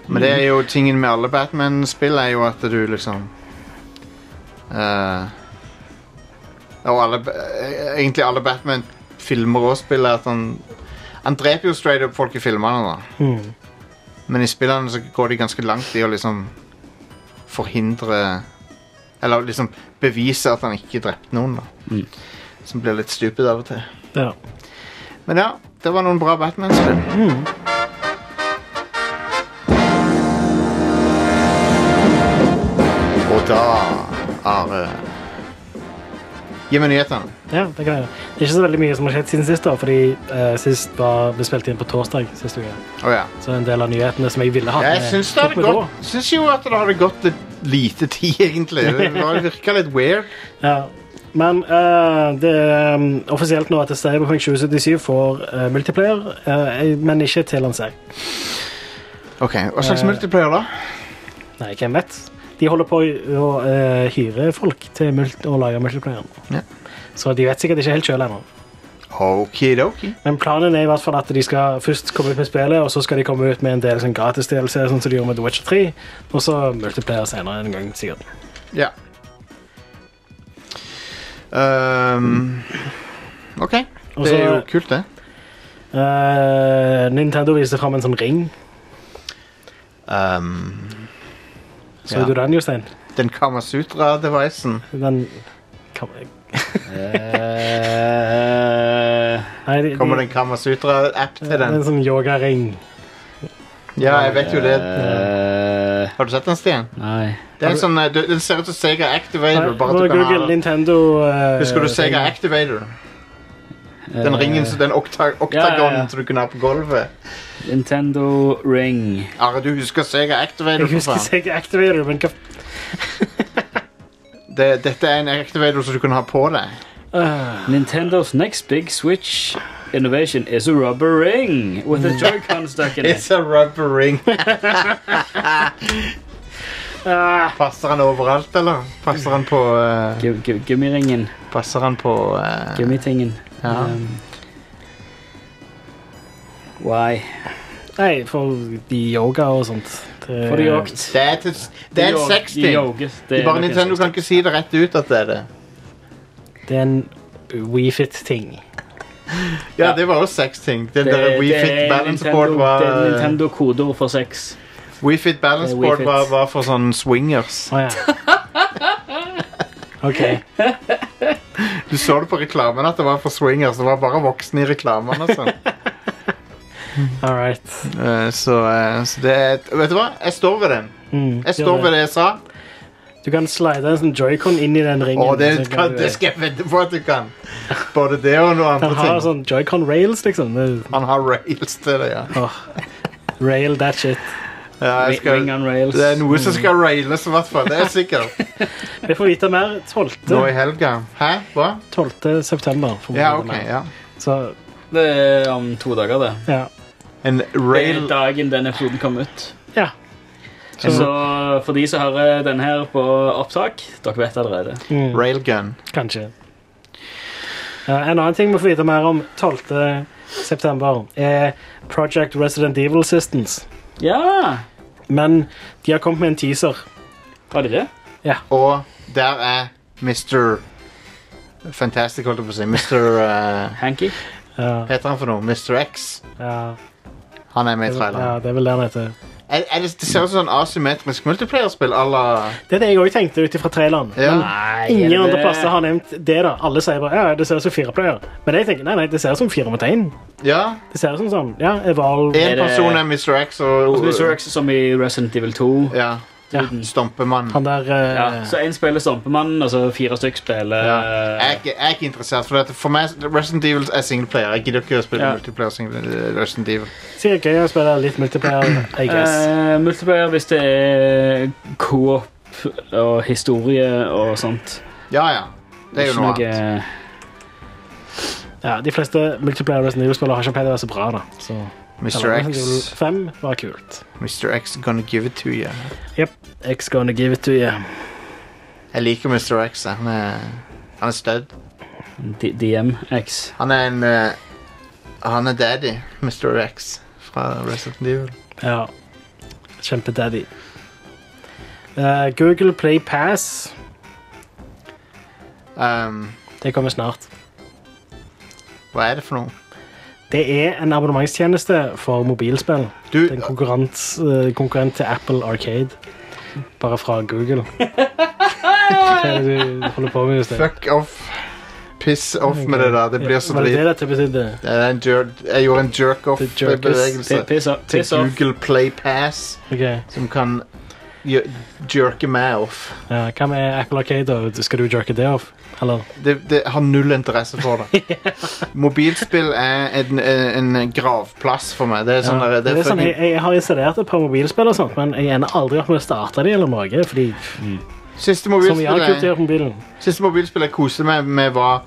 Speaker 1: Men det er jo tingen med alle Batman-spill, er jo at du liksom eh, Og alle, eh, egentlig alle Batman-filmer og spill er at han Han dreper jo straight up folk i filmene, da.
Speaker 3: Hmm.
Speaker 1: Men i spillene så går de ganske langt i å liksom forhindre Eller liksom bevise at han ikke drepte noen, da.
Speaker 2: Mm.
Speaker 1: Som blir litt stupid av og til.
Speaker 3: Ja.
Speaker 1: Men ja, det var noen bra Batman-spill. Og da, Are Gi meg nyhetene.
Speaker 3: ja, det kan jeg gjøre. Det er ikke så veldig mye som har skjedd siden sist, da, fordi eh, sist var vi spilte inn på torsdag sist uke.
Speaker 1: Å ja.
Speaker 3: Så en del av nyhetene som jeg ville ha
Speaker 1: Jeg
Speaker 3: med-
Speaker 1: syns, det
Speaker 3: tok
Speaker 1: hadde
Speaker 3: med
Speaker 1: gått, syns jo at det hadde gått litt lite tid, egentlig. Det var- virka litt weird.
Speaker 3: da. Ja. Men eh, det er um, offisielt nå at Cyberpunk 2077 får eh, multiplayer, eh, men ikke til lansering.
Speaker 1: Ok, Hva slags
Speaker 3: Eh.
Speaker 1: multiplayer, da?
Speaker 3: Nei, hvem vet? De holder på å eh, hyre folk til mult å lage multiplayeren.
Speaker 1: Ja.
Speaker 3: Så de vet sikkert ikke helt sjøl ennå.
Speaker 1: Okidoki.
Speaker 3: Men planen er i hvert fall at de skal først komme ut med spillet, og så skal de komme ut med en del sånn gratis DLC, sånn som de gjorde med The Witcher 3, og så multiplayer senere en gang, sikkert.
Speaker 1: Ja. Um, OK.
Speaker 3: Og
Speaker 1: Det
Speaker 3: så-
Speaker 1: er jo kult, det.
Speaker 3: Eh, Nintendo viste fram en sånn ring.
Speaker 1: Um,
Speaker 3: Så
Speaker 1: Ja.
Speaker 3: du den, Jostein?
Speaker 1: Den Kamasutra-devicen.
Speaker 3: Den kan,
Speaker 2: Eh,
Speaker 3: nei, de,
Speaker 1: Kommer det en Kamasutra-app til den?
Speaker 3: En sånn yogaring.
Speaker 1: Ja, jeg vet jo det.
Speaker 2: eh,
Speaker 1: Har du sett den, Stian?
Speaker 2: nei.
Speaker 1: Det er en sånn, eh, du- Den ser ut som Sega Activator.
Speaker 3: Nei,
Speaker 1: bare at
Speaker 3: må
Speaker 1: du kan ha
Speaker 3: Google
Speaker 1: den.
Speaker 3: Nintendo eh,
Speaker 1: Husker du Sega
Speaker 3: ring.
Speaker 1: Activator? Den
Speaker 2: eh,
Speaker 1: ringen, så den okta
Speaker 2: Ja, ja, ja.
Speaker 1: oktagonen som du kunne ha på gulvet.
Speaker 2: Nintendo Ring.
Speaker 1: Are, du husker Sega Activator,
Speaker 3: Jeg
Speaker 1: for
Speaker 3: husker
Speaker 1: faen.
Speaker 3: Sega Activator, men hva
Speaker 1: Det, dette er en Activator som du kunne ha på deg.
Speaker 3: Ah,
Speaker 2: Nintendo's next big Switch innovation is a rubber ring with a Joy-Con stuck in it.
Speaker 1: It's a rubber ring.
Speaker 3: ah,
Speaker 1: Passer han overalt, eller? Passer han på eh,
Speaker 2: Gu- gu- Gummiringen.
Speaker 1: Passer han på eh,
Speaker 2: Gummitingen.
Speaker 1: Ja.
Speaker 2: Um, why?
Speaker 3: Nei, for de yoga og sånt. Det-
Speaker 2: For de jakt.
Speaker 1: Det er, til, det er en sexting. Det er bare Nintendo kan ikke si det rett ut at det er det.
Speaker 3: Det er en WeFit-ting.
Speaker 1: Ja,
Speaker 2: Ja.
Speaker 1: det var også sexting. Den der WeFit Balance Board var
Speaker 2: Det er Nintendo kodeord for sex.
Speaker 1: WeFit Balance
Speaker 2: Det er
Speaker 1: Board
Speaker 2: WeFit.
Speaker 1: var, var for sånn swingers.
Speaker 3: Å ja. OK.
Speaker 1: Du så det på reklamen at det var for swingers. Det var bare voksne i reklamen og sånn.
Speaker 3: All right.
Speaker 1: Eh, så, eh, så det er et- Vet du hva? Jeg står ved den.
Speaker 3: Mm,
Speaker 1: Jeg
Speaker 3: gjør
Speaker 1: står ved det jeg sa,
Speaker 3: Du kan slide en sånn joycon inn i den ringen. Altså,
Speaker 1: og det,
Speaker 3: så kan
Speaker 1: kan,
Speaker 3: du-
Speaker 1: det skal jeg vedde på at du kan. Både det og noe
Speaker 3: Den
Speaker 1: andre
Speaker 3: har
Speaker 1: ting.
Speaker 3: sånn joycon-rails, liksom.
Speaker 2: sånn-
Speaker 3: Det-
Speaker 1: Han har rails til det, ja.
Speaker 3: Rail that shit.
Speaker 1: ja jeg skal,
Speaker 2: Ring on rails.
Speaker 1: det er noe som skal railes, i hvert fall. Det er sikkert.
Speaker 3: Vi får vite mer
Speaker 1: Nå i
Speaker 3: 12.
Speaker 1: helga. Hæ? Hva?
Speaker 3: 12. september. får vi
Speaker 1: Ja,
Speaker 3: vite
Speaker 1: ok,
Speaker 3: mer.
Speaker 1: ja.
Speaker 3: Så,
Speaker 2: Det er om to dager, det.
Speaker 3: ja.
Speaker 1: En
Speaker 2: Det er
Speaker 1: rail
Speaker 2: dagen denne episoden kom ut.
Speaker 3: ja.
Speaker 2: Så, for de som hører den her på opptak, dere vet allerede.
Speaker 3: Mm.
Speaker 1: railgun.
Speaker 3: Kanskje. Eh, en annen ting vi får vite mer om 12. september, er Project Resident Evil Systems.
Speaker 2: Ja!
Speaker 3: Men de har kommet med en teaser.
Speaker 2: Var det det?
Speaker 1: Og der er Mr. Fantastic, holdt jeg på å si. Mr. eh,
Speaker 2: Hanky?
Speaker 3: Ja,
Speaker 1: heter han for noe? Mr. X?
Speaker 3: ja,
Speaker 1: Han er med i
Speaker 3: ja,
Speaker 1: traileren.
Speaker 3: det er vel det han heter.
Speaker 1: Er, er det, det ser ut som sånn asymmetrisk multiplayerspill à la
Speaker 3: Det er det jeg òg tenkte ut ifra traileren.
Speaker 1: ja.
Speaker 2: Nei,
Speaker 3: Ingen
Speaker 2: er det
Speaker 3: andre
Speaker 2: det?
Speaker 3: plasser har nevnt det. da Alle sier bare ja, det ser ut som fireplayer. Men jeg tenker nei, nei, det ser ut som fire mot én.
Speaker 1: ja.
Speaker 3: Det ser ut som sånn ja, Evolve.
Speaker 1: En
Speaker 2: Er det-
Speaker 1: person er Mr. X, og
Speaker 2: Mr. X som i Resident Evil 2.
Speaker 1: Ja.
Speaker 3: Ja.
Speaker 1: Stompemann.
Speaker 3: Han der eh,
Speaker 2: Ja, så én spiller Stompemannen, og så fire stykk spiller eh,
Speaker 1: Ja. Jeg, er ikke- jeg er ikke interessert, for dette. for meg Resident Evil er singleplayer. Jeg gidder ikke å spille
Speaker 2: Ja.
Speaker 1: multiplayer. Single, Resident Evil.
Speaker 3: Sikkert Eh. gøy å spille litt multiplayer, I guess.
Speaker 2: Eh, multiplayer hvis det er co-op og historie og sånt.
Speaker 1: Ja, ja. Det er jo noe annet.
Speaker 3: Ja, de fleste multiplayer Resident Evil-spillere har ikke pleid å være så bra, da. Så,
Speaker 1: Mr.
Speaker 3: eller, Resident Evil
Speaker 1: X.
Speaker 3: 5 var kult.
Speaker 1: Mr. X gonna give it to you.
Speaker 3: X gonna give it to you.
Speaker 1: Jeg liker Mr. X. jeg. Han er, han er stødd.
Speaker 2: D- DMX.
Speaker 1: Han er en eh, Han er daddy, Mr. X fra Resident Evil.
Speaker 3: Ja. Kjempedaddy. Eh, Google Play Pass.
Speaker 1: Um,
Speaker 3: Det kommer snart.
Speaker 1: hva er det for noe?
Speaker 3: Det er en abonnementstjeneste for mobilspill.
Speaker 1: Du,
Speaker 3: Det er en konkurrent, eh, konkurrent til Apple Arcade. Bare fra Google. Hva er det du holder på med? Jostein?
Speaker 1: fuck off. Piss off med det der. Det blir så
Speaker 3: Var det
Speaker 1: drit.
Speaker 3: det dette betydde?
Speaker 1: Det er en jer jeg gjorde en
Speaker 3: Det er jerkes.
Speaker 1: jerk-off-bevegelse
Speaker 2: Pi- Piss off.
Speaker 1: til
Speaker 2: Piss off.
Speaker 1: Google Play Pass,
Speaker 3: Ok,
Speaker 1: som kan gjø- jerke meg off.
Speaker 3: ja, Hva med Apple Arcade? da? Skal du jerke det off? Eller?
Speaker 1: Det, det har null interesse for det. Mobilspill er en, en, en gravplass for meg. Det er sånn der,
Speaker 3: Ja,
Speaker 1: det er
Speaker 3: det er sånn, jeg,
Speaker 1: fucking-
Speaker 3: jeg har installert et par mobilspill, og sånt, men jeg ender aldri opp med å starte de eller noe. Fordi,
Speaker 1: Siste
Speaker 3: som jeg har
Speaker 1: mobilspill
Speaker 3: kult
Speaker 1: jeg,
Speaker 3: gjør på mobilen.
Speaker 1: siste mobilspill jeg koste meg med, var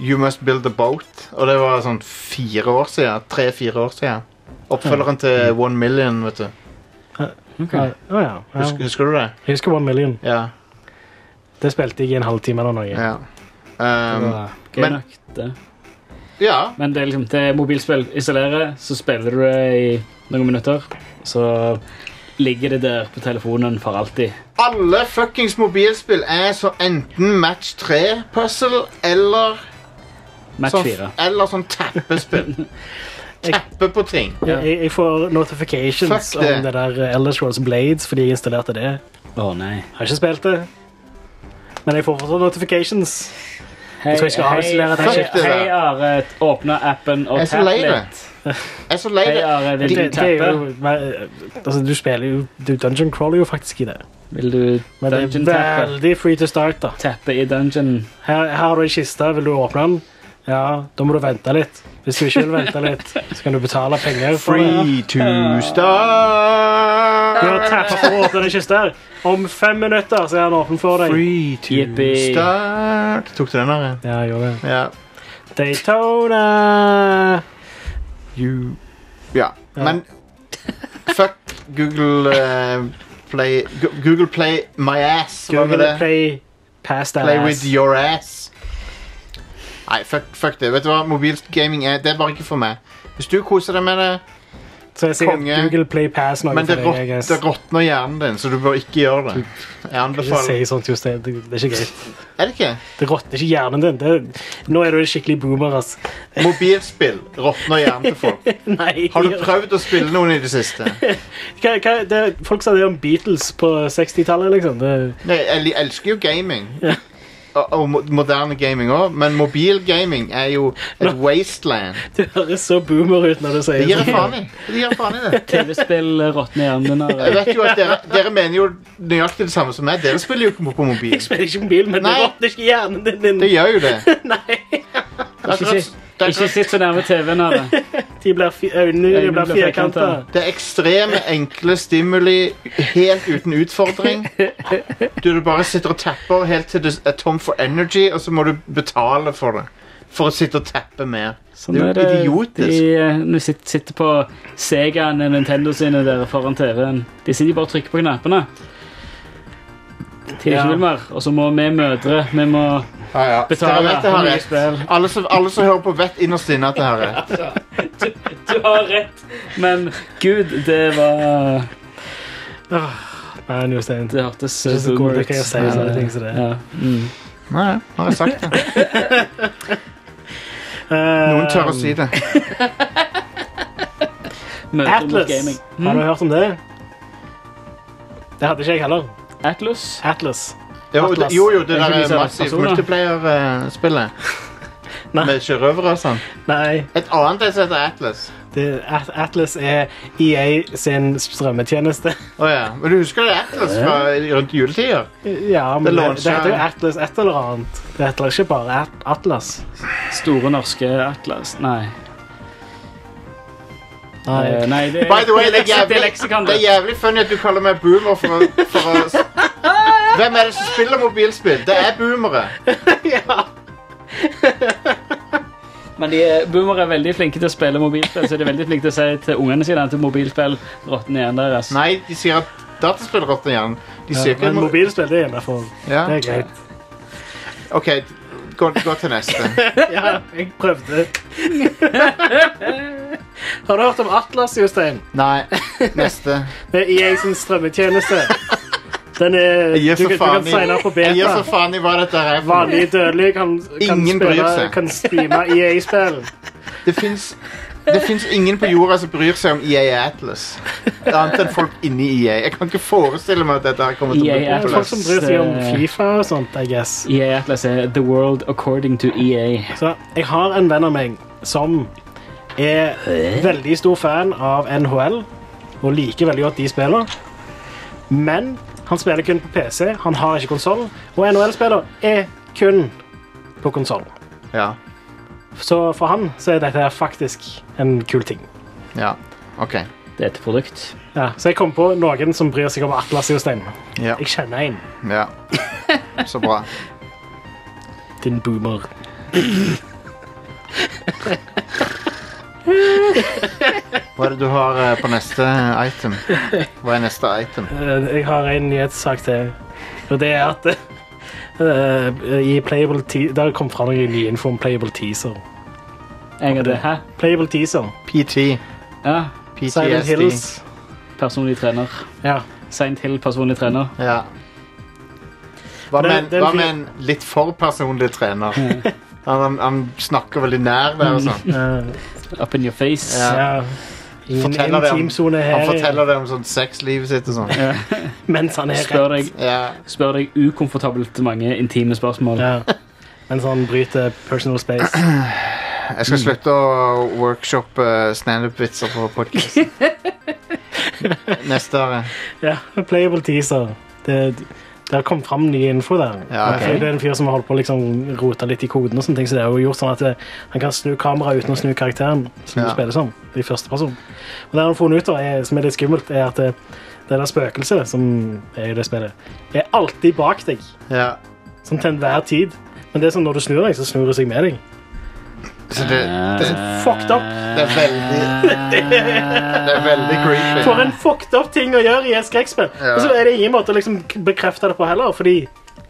Speaker 1: You Must Build a Boat. Og det var sånn fire år siden. Tre-fire år siden. Oppfølgeren
Speaker 3: Mm.
Speaker 1: til One Million, vet du.
Speaker 3: Ja, å ja, ja.
Speaker 1: Husker, husker du det?
Speaker 3: Jeg husker One Million.
Speaker 1: Ja.
Speaker 3: Det spilte jeg i en halvtime eller noe.
Speaker 1: ja. Um,
Speaker 2: Gøy
Speaker 1: men-
Speaker 2: nok, det.
Speaker 1: ja.
Speaker 2: Men det er liksom det er mobilspill. Installere, så spiller du det i noen minutter. Så ligger det der på telefonen for alltid.
Speaker 1: Alle fuckings mobilspill er så enten match 3-puzzle eller,
Speaker 2: Match
Speaker 1: sånn,
Speaker 2: fire.
Speaker 1: eller sånn tappespill. Tappe på ting.
Speaker 3: Jeg, jeg- jeg får notifications
Speaker 1: Fuck det.
Speaker 3: om det der eh, Elder Scrolls Blades fordi jeg installerte det.
Speaker 2: Å nei.
Speaker 3: Jeg har ikke spilt det. Men jeg får fortsatt notifications.
Speaker 2: Hei,
Speaker 3: tror jeg skal avsløre det
Speaker 2: hei,
Speaker 1: skiftet
Speaker 2: hei,
Speaker 1: der.
Speaker 2: Are. Åpne appen og
Speaker 1: Jeg er så
Speaker 2: tapp
Speaker 1: lei det.
Speaker 2: litt.
Speaker 1: Jeg er så lei
Speaker 2: Hei,
Speaker 1: det.
Speaker 2: Are. Vil
Speaker 3: Det,
Speaker 2: du
Speaker 3: det er
Speaker 2: tappe?
Speaker 3: jo, men, altså, du spiller jo Du dungeon crawler jo faktisk i det.
Speaker 2: Vil du
Speaker 3: Men det er
Speaker 2: dungeon-tappe?
Speaker 3: veldig free to start, da.
Speaker 2: Tappe i dungeon.
Speaker 3: Her, her har du en kiste. Vil du åpne den? Ja, da må du vente litt. Hvis du ikke vil vente litt, så kan du betale penger. for det.
Speaker 1: Free to
Speaker 3: Du
Speaker 1: start.
Speaker 3: har tappet for å åpne den kisten. her. Om fem minutter så er den åpen for deg.
Speaker 1: Free to
Speaker 2: Yippee.
Speaker 1: start. Tok du den der? ja?
Speaker 3: Ja, jeg gjorde det.
Speaker 1: Ja.
Speaker 3: Daytona!
Speaker 1: You Ja.
Speaker 3: Ja.
Speaker 1: Men fuck Google eh, Play Gu- Google Play my ass. Hva med
Speaker 3: Google
Speaker 1: det?
Speaker 3: Play Pass that
Speaker 1: Play
Speaker 3: ass.
Speaker 1: with your ass. Nei, fuck, fuck det. Vet du hva? Mobilgaming er, det er bare ikke for meg. Hvis du koser deg med det,
Speaker 3: Så jeg sier at
Speaker 1: konge.
Speaker 3: Google Play Pass noe
Speaker 1: men det,
Speaker 3: for
Speaker 1: råt,
Speaker 3: deg. I guess.
Speaker 1: det råtner hjernen din, så du bør ikke gjøre det. Jeg
Speaker 3: Ikke si
Speaker 1: anbefaler
Speaker 3: sånt, Jostein. Det, det er ikke greit.
Speaker 1: Er det ikke?
Speaker 3: Det råtner ikke hjernen din. Det, nå er du en skikkelig boomer, ass.
Speaker 1: Mobilspill råtner hjernen til folk.
Speaker 3: Nei.
Speaker 1: Har du prøvd å spille noen i det siste?
Speaker 3: hva, hva, det, folk sa det om Beatles på 60-tallet, liksom. Det,
Speaker 1: Nei, jeg li- elsker jo gaming. Og, og mo- moderne gaming òg, men mobilgaming er jo et wasteland.
Speaker 3: du høres så boomer ut når du sier
Speaker 1: Det gir jeg
Speaker 3: sånn.
Speaker 1: faen i. Det gir jeg faen i det.
Speaker 2: TV-spill råtner hjernen din.
Speaker 1: Jeg
Speaker 2: Are.
Speaker 1: vet jo at dere, dere mener jo nøyaktig det samme som meg. Dere spiller jo ikke på mobil.
Speaker 3: Jeg spiller ikke mobil, men det
Speaker 1: Nei.
Speaker 3: råtner ikke hjernen din.
Speaker 1: Det gjør jo det.
Speaker 3: Nei.
Speaker 1: Det er akkurat- det er
Speaker 2: Ikke
Speaker 1: akkurat-
Speaker 2: sitt så nærme TV-en. Are.
Speaker 3: De blir fi, øynene
Speaker 2: Øynene
Speaker 3: dine blir
Speaker 2: blir firkantet.
Speaker 3: firkanta.
Speaker 1: det er ekstreme, enkle stimuli helt uten utfordring. Du, du bare sitter og tapper helt til du er tom for energy, og så må du betale for det. For å sitte og tappe mer.
Speaker 2: Sånn
Speaker 1: Det er jo
Speaker 2: er det.
Speaker 1: idiotisk.
Speaker 2: De eh, nå sit- sitter på Segaen og Nintendo sine der foran TV-en. De sitter bare og trykker på knappene. Til de
Speaker 3: Ja.
Speaker 2: ikke vil mer. Og så må vi mødre vi må
Speaker 1: Ja, ja. Dere
Speaker 2: betale
Speaker 1: vet det
Speaker 2: for
Speaker 1: her
Speaker 2: mye
Speaker 1: rett.
Speaker 2: spill.
Speaker 1: Alle som, alle som hører på, vet innerst inne at det her er
Speaker 2: Du har rett, men gud, det var
Speaker 3: Nei, Jostein.
Speaker 2: Det hørtes
Speaker 3: Det er så god, det kan jeg si,
Speaker 2: Ja,
Speaker 3: sånne ting som det.
Speaker 2: ja. Mm.
Speaker 1: Nei, nå har jeg sagt det. Noen tør å
Speaker 3: Eh,
Speaker 1: si det.
Speaker 2: Eh, Mødre mot
Speaker 3: Atlas.
Speaker 2: gaming.
Speaker 3: Har
Speaker 1: Hmm?
Speaker 3: du hørt om det? Det hadde ikke jeg heller.
Speaker 2: Atlas?
Speaker 3: Atlas.
Speaker 1: Jo,
Speaker 3: Atlas.
Speaker 1: det- jo, jo, det
Speaker 2: Jeg
Speaker 1: der
Speaker 2: skulle si
Speaker 1: er
Speaker 2: det,
Speaker 1: massivt
Speaker 2: personer.
Speaker 1: multiplayer-spillet.
Speaker 3: Nei.
Speaker 1: Med sjørøvere og sånn.
Speaker 3: Nei.
Speaker 1: Et annet et som heter Atlas.
Speaker 3: Det, At- Atlas er EA sin strømmetjeneste.
Speaker 1: Å ja. Men du husker det Atlas fra rundt juletider?
Speaker 3: Ja, men
Speaker 1: Det
Speaker 3: det,
Speaker 1: launcher-
Speaker 3: det, heter jo Atlas et eller annet. Det heter ikke bare At Atlas.
Speaker 2: Store norske Atlas? Nei.
Speaker 3: Nei.
Speaker 2: Eh, Nei, det er
Speaker 1: By the way, det er
Speaker 2: leksikon-
Speaker 1: jævlig,
Speaker 2: leksikon,
Speaker 1: det er jævlig funny at du kaller meg boomer for å, for å Hvem er det som spiller mobilspill? Det er boomere.
Speaker 2: Men de er- boomere er veldig flinke til å spille mobilspill, så de er veldig flinke til å si til ungene sine at mobilspill råtner igjen deres.
Speaker 1: Nei, de sier at dataspill råtner igjen. De sier ikke
Speaker 3: Men mobilspill, det er innafor.
Speaker 1: Ja.
Speaker 3: Det er greit.
Speaker 1: OK, gå, gå til neste.
Speaker 3: Ja, jeg prøvde. Har du hørt om Atlas, Jostein?
Speaker 1: Nei. Neste.
Speaker 3: Det er EA sin strømmetjeneste. Den er,
Speaker 1: Jeg gir
Speaker 3: du,
Speaker 1: så
Speaker 3: kan- du
Speaker 1: faen
Speaker 3: kan
Speaker 1: i-
Speaker 3: signe opp på beta.
Speaker 1: Jeg gir så faen i hva dette er. for noe.
Speaker 3: Vanlige dødelige kan, kan,
Speaker 1: Ingen bryr
Speaker 3: spille,
Speaker 1: seg.
Speaker 3: kan streame E EA-spill.
Speaker 1: Det fins det finnes ingen på jorda som bryr seg om EA Atlas. Annet enn folk inni EA. Jeg kan ikke forestille meg at dette her kommer til å bli
Speaker 2: EA Atlas.
Speaker 3: Folk som
Speaker 1: populært.
Speaker 3: bryr seg om Fifa og sånt, I guess.
Speaker 2: EA E Atlas er The World According to E EA.
Speaker 3: Så jeg har en venn av meg som er veldig stor fan av NHL og liker veldig godt de spiller. Men han spiller kun på PC, han har ikke konsoll, og NHL-spiller er kun på konsoll.
Speaker 1: Ja,
Speaker 3: Så for han så er dette her faktisk en kul ting.
Speaker 1: ja, ok.
Speaker 2: Det er et produkt.
Speaker 3: Ja, så jeg kom på noen som bryr seg om Atlas Jostein.
Speaker 1: Ja,
Speaker 3: Jeg kjenner en.
Speaker 1: ja. Så bra.
Speaker 3: Din boomer.
Speaker 1: Hva er det du har eh, på neste item? Hva er neste item?
Speaker 3: Eh, Jeg har en nyhetssak til. Og det er at eh, i Playable Te Der kom fra noe ny info om Playable Teaser.
Speaker 2: Jeg hadde Hæ?
Speaker 3: Playable Teaser.
Speaker 1: PT.
Speaker 2: Ja.
Speaker 3: Silent
Speaker 1: PTSD.
Speaker 3: Hills.
Speaker 2: Personlig trener.
Speaker 3: Ja.
Speaker 2: Seint Hill, personlig trener.
Speaker 1: Ja. Hva
Speaker 3: Det-
Speaker 1: med,
Speaker 3: det
Speaker 1: en-
Speaker 3: er en
Speaker 1: hva med en
Speaker 3: fin-
Speaker 1: litt for personlig trener? Han, han, han snakker veldig nær deg og sånn.
Speaker 3: eh,
Speaker 2: Up in your face.
Speaker 1: Ja.
Speaker 3: ja. I en
Speaker 1: Forteller det om-
Speaker 3: intimsone her
Speaker 1: Han forteller deg om sånn sexlivet sitt og sånn.
Speaker 3: mens han er
Speaker 2: Spør
Speaker 3: rett.
Speaker 2: deg,
Speaker 1: Ja.
Speaker 2: spør deg ukomfortabelt mange intime spørsmål.
Speaker 3: Ja. Mens han bryter personal space.
Speaker 1: Jeg skal slutte å workshoppe standup-vitser på podkast. Neste år. ja.
Speaker 3: Ja, Playable Teaser. Det, det har kommet fram ny info der.
Speaker 1: Ja,
Speaker 3: For Det er en fyr som har holdt på å liksom rote litt i koden, og sånne ting, så det har jo gjort sånn at det, han kan snu kameraet uten å snu karakteren. som
Speaker 1: Ja.
Speaker 3: du spiller som, i første person. Og det han har funnet ut, da, er, som er litt skummelt, er at det, det der spøkelset som er i det spillet, er alltid bak deg.
Speaker 1: Ja.
Speaker 3: Sånn til enhver tid. Men det er sånn når du snur deg, så snur det seg med deg.
Speaker 1: Så det, det,
Speaker 3: Fucked up.
Speaker 1: det er veldig Det er veldig
Speaker 3: For
Speaker 1: creepy.
Speaker 3: en fucked up ting å gjøre i et skrekkspill!
Speaker 1: Ja.
Speaker 3: Og så er det ingen måte å liksom bekrefte det på heller, fordi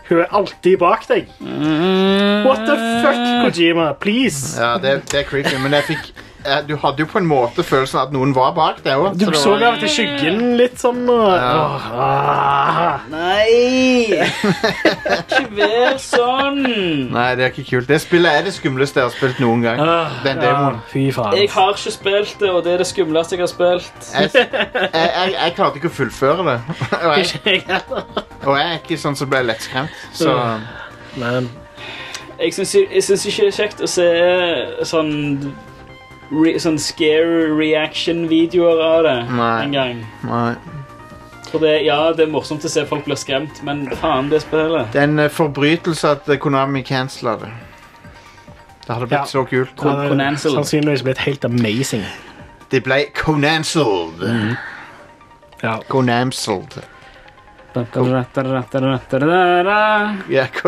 Speaker 3: hun er alltid bak deg.
Speaker 1: Mm.
Speaker 3: What the fuck, Kojima? Please!
Speaker 1: Ja, det, det er creepy, men jeg fikk eh, du hadde jo på en måte følelsen at noen var bak deg òg.
Speaker 3: Du så jo av og til skyggen litt sånn. Og, Åh, ah.
Speaker 2: Nei! Ikke vær sånn!
Speaker 1: Nei, det er ikke kult. Det spillet er det skumleste jeg har spilt noen gang.
Speaker 3: Ah.
Speaker 1: Den demoen.
Speaker 3: Fy faen.
Speaker 2: Jeg har ikke spilt det, og det er det skumleste jeg har spilt.
Speaker 1: Jeg, jeg, jeg, jeg klarte ikke å fullføre det. Og jeg, og jeg er ikke sånn som ble lettskremt. Så
Speaker 3: Men
Speaker 2: Jeg syns jeg syns ikke det er kjekt å se sånn re, Sånn scare reaction-videoer av det
Speaker 1: Nei.
Speaker 2: en gang.
Speaker 1: nei.
Speaker 2: For det, ja, det er morsomt å se folk bli skremt, men faen, det spillet.
Speaker 1: Det er en eh, forbrytelse at eh, Konami cancela det. Det hadde blitt
Speaker 3: Ja.
Speaker 1: så kult.
Speaker 3: det hadde
Speaker 2: Conansel.
Speaker 3: sannsynligvis blitt helt amazing.
Speaker 1: Det ble conancelled.
Speaker 3: Mm. Ja.
Speaker 1: Conamcelled. Ja, ko- ko-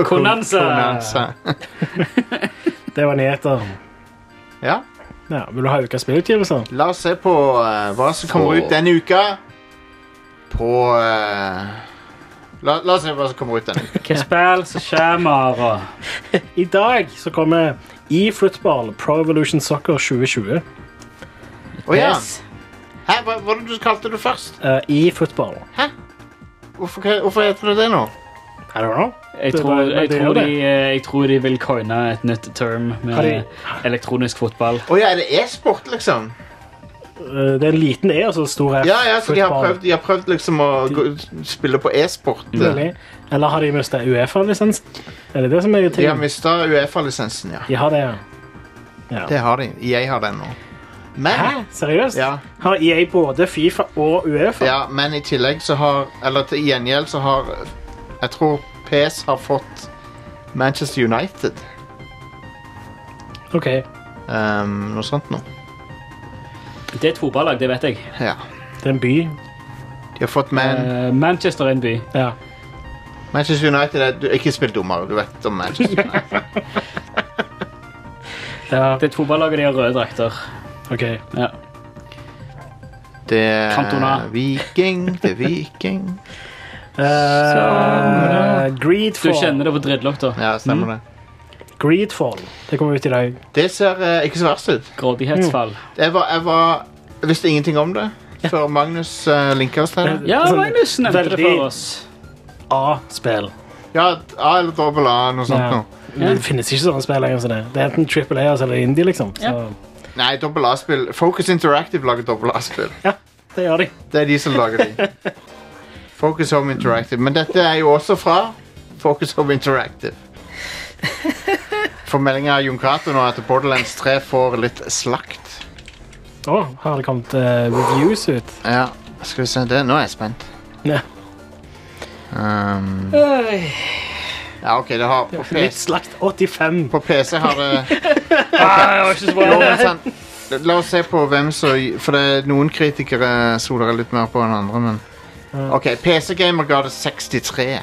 Speaker 2: Konanza.
Speaker 1: Konanza.
Speaker 3: Det var nyheter.
Speaker 1: Ja,
Speaker 3: Ja, vil du ha ukas spillutgivelser?
Speaker 1: la oss se på eh, hva som kommer
Speaker 4: Så-
Speaker 1: ut denne uka. På eh, la, la oss se hva som kommer ut denne uka.
Speaker 2: Hva spill som kommer og
Speaker 3: I dag så kommer eFootball Pro Evolution Soccer 2020.
Speaker 1: Å ja. Hæ, hva, hva var det du kalte det først?
Speaker 3: Eh, eFootball.
Speaker 1: Hvorfor, hvorfor heter det det nå?
Speaker 3: I don't know.
Speaker 2: Jeg
Speaker 3: Det
Speaker 2: tror,
Speaker 3: var-
Speaker 2: jeg,
Speaker 3: det er
Speaker 2: tror
Speaker 3: jo
Speaker 2: de, eh,
Speaker 3: det.
Speaker 2: jeg tror de vil coine et nytt term
Speaker 3: Har
Speaker 2: med
Speaker 3: de-
Speaker 2: elektronisk fotball.
Speaker 1: Å ja, er det e-sport, liksom?
Speaker 3: Eh, Det er en liten E og så stor F.
Speaker 1: Ja, ja, så de har
Speaker 3: Football.
Speaker 1: prøvd, de har prøvd liksom å gå, spille på e-sport.
Speaker 3: Mulig. Eller har de mista Uefa-lisens? Er det det som er
Speaker 1: De har
Speaker 3: tingen?
Speaker 1: mista Uefa-lisensen, ja.
Speaker 3: De har det, ja. ja.
Speaker 1: Det har de. Jeg har den nå. Men,
Speaker 3: Hæ? Seriøst?
Speaker 1: ja,
Speaker 3: Har EA både Fifa og Uefa?
Speaker 1: ja, men i tillegg så har Eller til gjengjeld så har Jeg tror PS har fått Manchester United.
Speaker 3: Ok.
Speaker 1: ehm, noe sånt nå.
Speaker 2: Det er et fotballag, det vet jeg.
Speaker 1: Ja.
Speaker 3: Det er en by.
Speaker 1: De har fått Man...
Speaker 2: Eh, Manchester er en by.
Speaker 3: Ja.
Speaker 1: Manchester United er, du, Ikke spill dommer, du vet om Manchester United.
Speaker 3: Ja,
Speaker 2: Det er et fotballag, og de har røde drakter.
Speaker 3: ok.
Speaker 2: Ja.
Speaker 1: Det er
Speaker 2: Cantona.
Speaker 1: Viking, det er Viking.
Speaker 3: Eh,
Speaker 2: Sånn. Du
Speaker 3: Greedfall.
Speaker 2: kjenner det på drittlock, da.
Speaker 1: Ja, stemmer
Speaker 2: Mm.
Speaker 1: det.
Speaker 3: Greedfall. Det kommer ut i dag.
Speaker 1: Det ser eh, ikke så verst ut.
Speaker 2: Grådighetsfall.
Speaker 1: Jeg, var, jeg, var, jeg visste ingenting om det før Magnus uh, linka oss til det.
Speaker 2: Ja,
Speaker 3: Sånn
Speaker 2: Magnus nevnte det
Speaker 3: veldig-
Speaker 2: for oss.
Speaker 3: A-spill.
Speaker 1: Ja, A eller dobbel A, noe sånt
Speaker 3: Ja.
Speaker 1: noe.
Speaker 2: Ja.
Speaker 3: Det finnes ikke sånne spill lenger. som Det Det er enten Triple A eller Indie, liksom. Så
Speaker 2: Ja.
Speaker 1: Nei, dobbel A-spill. Focus Interactive lager dobbel A-spill.
Speaker 3: det gjør de.
Speaker 1: Det er de som lager de. Focus Home Interactive. Men dette er jo også fra Focus Home Interactive. For meldinga av Jon Cato nå er at Borderlands 3 får litt slakt.
Speaker 3: Å, har det kommet eh, reviews ut?
Speaker 1: Ja, skal vi se det. Nå er jeg spent.
Speaker 3: Ja.
Speaker 1: Um, ja, OK, det har på
Speaker 3: Litt
Speaker 1: PC,
Speaker 3: slakt 85.
Speaker 1: på PC har det Jo,
Speaker 2: Okay.
Speaker 1: men sånn, La oss se på hvem som For det er noen kritikere soler jeg litt mer på enn andre, men OK, PC Gamer ga det 63,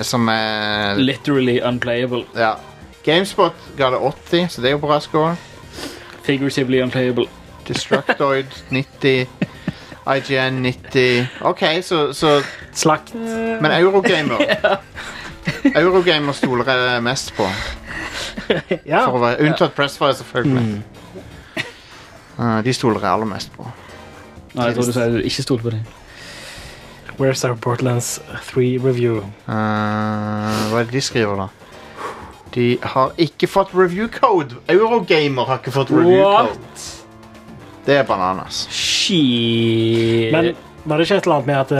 Speaker 1: som er
Speaker 2: Literally unplayable.
Speaker 1: Ja. GameSpot ga det 80, så det er jo bra score.
Speaker 2: Figuratively unplayable.
Speaker 1: Destructoid 90. IGN 90. OK, så, så
Speaker 3: Slakt.
Speaker 1: Men Eurogamer Eurogamer stoler jeg mest på.
Speaker 3: Ja.
Speaker 1: For å være, unntatt Pressfire, selvfølgelig. Eh, de stoler jeg aller mest på.
Speaker 2: Nei, jeg tror du sa du ikke stolte på det.
Speaker 3: Where's our Portlands 3 review?
Speaker 1: Eh, hva er det de skriver, da? De har ikke fått review code! Eurogamer har ikke fått review code. Det er bananas.
Speaker 2: Shit.
Speaker 1: Eh,
Speaker 3: Men var det ikke et eller annet med at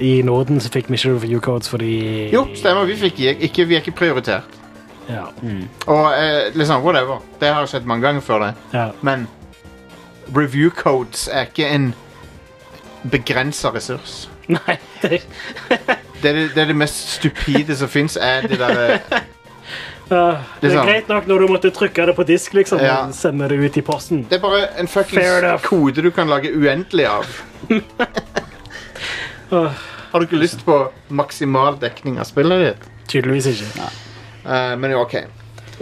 Speaker 3: eh, i Norden så fikk vi ikke review codes fordi
Speaker 1: Jo, stemmer. Mm. Vi, fikk, ikke, vi er ikke prioritert.
Speaker 3: Ja.
Speaker 1: Og eh, liksom, whatever. Det har skjedd mange ganger før, det.
Speaker 3: ja. Eh,
Speaker 1: Men review codes er ikke en begrensa ressurs.
Speaker 3: Nei, det
Speaker 1: Det er det, det er det mest stupide som fins, er det eh, derre
Speaker 3: Ja, det er
Speaker 1: sant.
Speaker 3: greit nok når du måtte trykke det på disk, liksom.
Speaker 1: Ja.
Speaker 3: og Sende det ut i posten.
Speaker 1: Det er bare en
Speaker 3: Fair enough.
Speaker 1: fuckings kode du kan lage uendelig av.
Speaker 3: Åh.
Speaker 1: Har du ikke lyst på maksimal dekning av spillet ditt?
Speaker 3: Tydeligvis ikke.
Speaker 1: Eh, men jo, OK.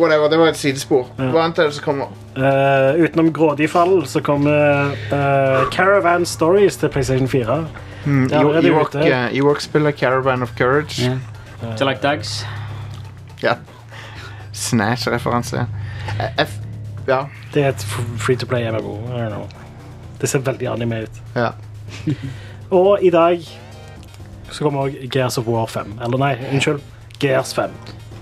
Speaker 1: Whatever, det var et sidespor. Hva annet er det som kommer?
Speaker 3: Eh, utenom grådig fall så kommer eh, Caravan Stories til PlayStation 4. Det er allerede
Speaker 1: Hmm, Ewok,
Speaker 3: ute.
Speaker 1: eh, Ewok-spillet Caravan of Courage.
Speaker 2: Ja. Til like dags.
Speaker 1: Ja. Snatch-referanse. Eh, F... Ja.
Speaker 3: Det er et free to play MMO. I don't know. Det ser veldig anime ut.
Speaker 1: ja.
Speaker 3: Og i dag så kommer òg Gears of War 5. Eller nei, unnskyld. Gears 5.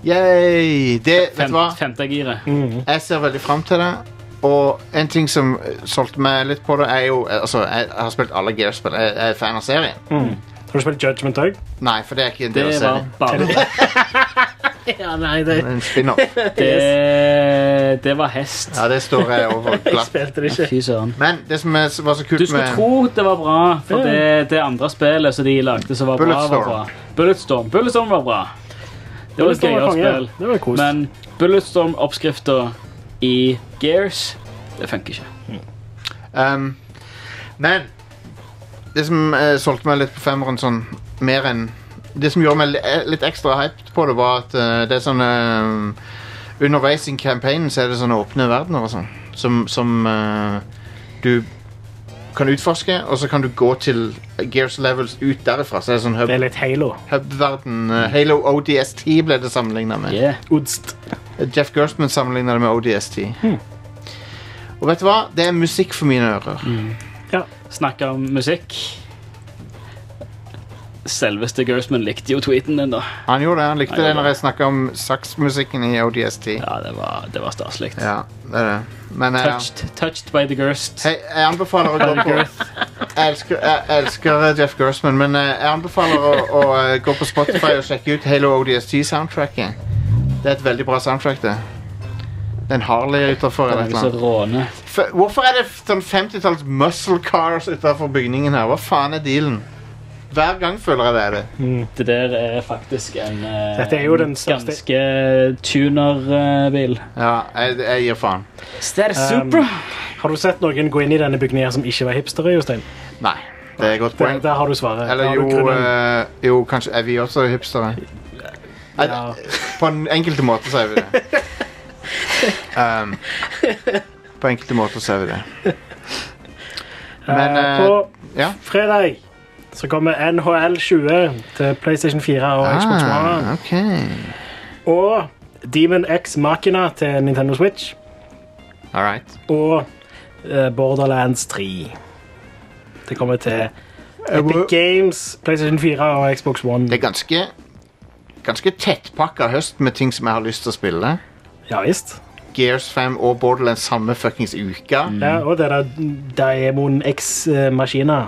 Speaker 1: Yay! Det, vet du
Speaker 2: Fem,
Speaker 1: hva? Mm.
Speaker 2: femte giret.
Speaker 1: Jeg ser veldig fram til det. Og en ting som eh, solgte meg litt på det, er jo eh, Altså, jeg jeg har spilt alle Gears-spill. Jeg jeg er fan av serien.
Speaker 3: Har du spilt Judgment òg?
Speaker 1: Nei, for det er ikke en
Speaker 2: Det
Speaker 1: del av
Speaker 2: var
Speaker 1: serien.
Speaker 2: bare
Speaker 3: Ja, nei, det
Speaker 1: Det er En spin-off.
Speaker 2: Det, det var hest.
Speaker 1: Ja, det står jeg over
Speaker 3: Jeg
Speaker 1: glatt.
Speaker 3: spilte det ikke.
Speaker 2: Fy søren.
Speaker 1: Men det som er, var så
Speaker 2: Du
Speaker 1: kult
Speaker 2: skulle
Speaker 1: med
Speaker 2: tro det var bra, for det, det andre spillet som de lagde som var bra, var
Speaker 1: Bulletstorm.
Speaker 2: bra. Bulletstorm. Bulletstorm var bra. Det var et
Speaker 3: Bulletstorm var
Speaker 2: gøyere
Speaker 3: konge.
Speaker 2: spill.
Speaker 3: Det var kos.
Speaker 2: Men Bulletstorm-oppskrifta i Gears, det funker ikke.
Speaker 1: um, Men det som eh, solgte meg litt på femmeren sånn mer enn Det som gjorde meg li- eh, litt ekstra hyped på det, var at eh, det er sånn eh, Underveis i campaignen så er det sånne åpne verdener og sånn, som, som eh, du kan utforske, og så kan du gå til Gears Levels ut derifra. Så er det sånn hub-
Speaker 3: Det er litt Halo.
Speaker 1: hub-verden. eh, Halo ODST ble det sammenligna med.
Speaker 2: Yeah.
Speaker 3: Odst.
Speaker 1: Jeff Gerstmann sammenligner det med ODST. Og vet du hva? Det er musikk for mine ører.
Speaker 2: Snakke om musikk. Selveste Gersman likte jo tweeten din, da.
Speaker 1: Han gjorde det, han likte
Speaker 2: Nei,
Speaker 1: det
Speaker 2: det er
Speaker 1: når
Speaker 2: bra.
Speaker 1: jeg snakka om saksmusikken i ODST. Ja,
Speaker 2: Ja, det var, det var staselig.
Speaker 1: det er det. Men eh,
Speaker 2: Touched, touched by the Gerst.
Speaker 1: hei, jeg anbefaler å gå på Jeg elsker, jeg elsker Jeff Gerstmann, men eh, jeg anbefaler å, å eh, gå på Spotify og sjekke ut Halo ODST-soundtracket. Det er et veldig bra soundtrack, det. Det er en Harley utafor eller et
Speaker 2: Noen som
Speaker 1: eller annet.
Speaker 2: råner.
Speaker 1: F- Hvorfor er det sånn 50-talls muscle cars utafor bygningen her? Hva faen er dealen? Hver gang føler jeg det er det.
Speaker 2: Det der er faktisk en eh,
Speaker 3: Dette er jo den
Speaker 2: en
Speaker 3: største-
Speaker 2: ganske tunerbil. Um,
Speaker 1: Ja, jeg, jeg gir faen.
Speaker 2: Stær
Speaker 3: Supra. Har du sett noen gå inn i denne bygningen her som ikke var hipstere, Jostein?
Speaker 1: Nei, det er et godt
Speaker 3: Der,
Speaker 1: poeng.
Speaker 3: der har du svaret. Der
Speaker 1: Eller
Speaker 3: har du
Speaker 1: jo,
Speaker 3: grunnen.
Speaker 1: eh, jo, kanskje er vi også hipstere. Nei,
Speaker 3: Ja.
Speaker 1: På en enkelte måte så er vi det. Um, på enkelte måter så er vi det. Men
Speaker 3: Eh,
Speaker 1: eh,
Speaker 3: på
Speaker 1: ja.
Speaker 3: fredag så kommer NHL 20 til PlayStation 4 og Xbox One.
Speaker 1: Ah, ok.
Speaker 3: Og Demon X Machina til Nintendo Switch.
Speaker 1: All right.
Speaker 3: Og eh, Borderlands 3. Det kommer til Epic Games, PlayStation 4 og Xbox One.
Speaker 1: Det er ganske Ganske tettpakka høst med ting som jeg har lyst til å spille.
Speaker 3: Ja visst.
Speaker 1: Gears 5 og Borderlands samme fuckings uke.
Speaker 3: Ja, og det der Diamond X eh, Machina.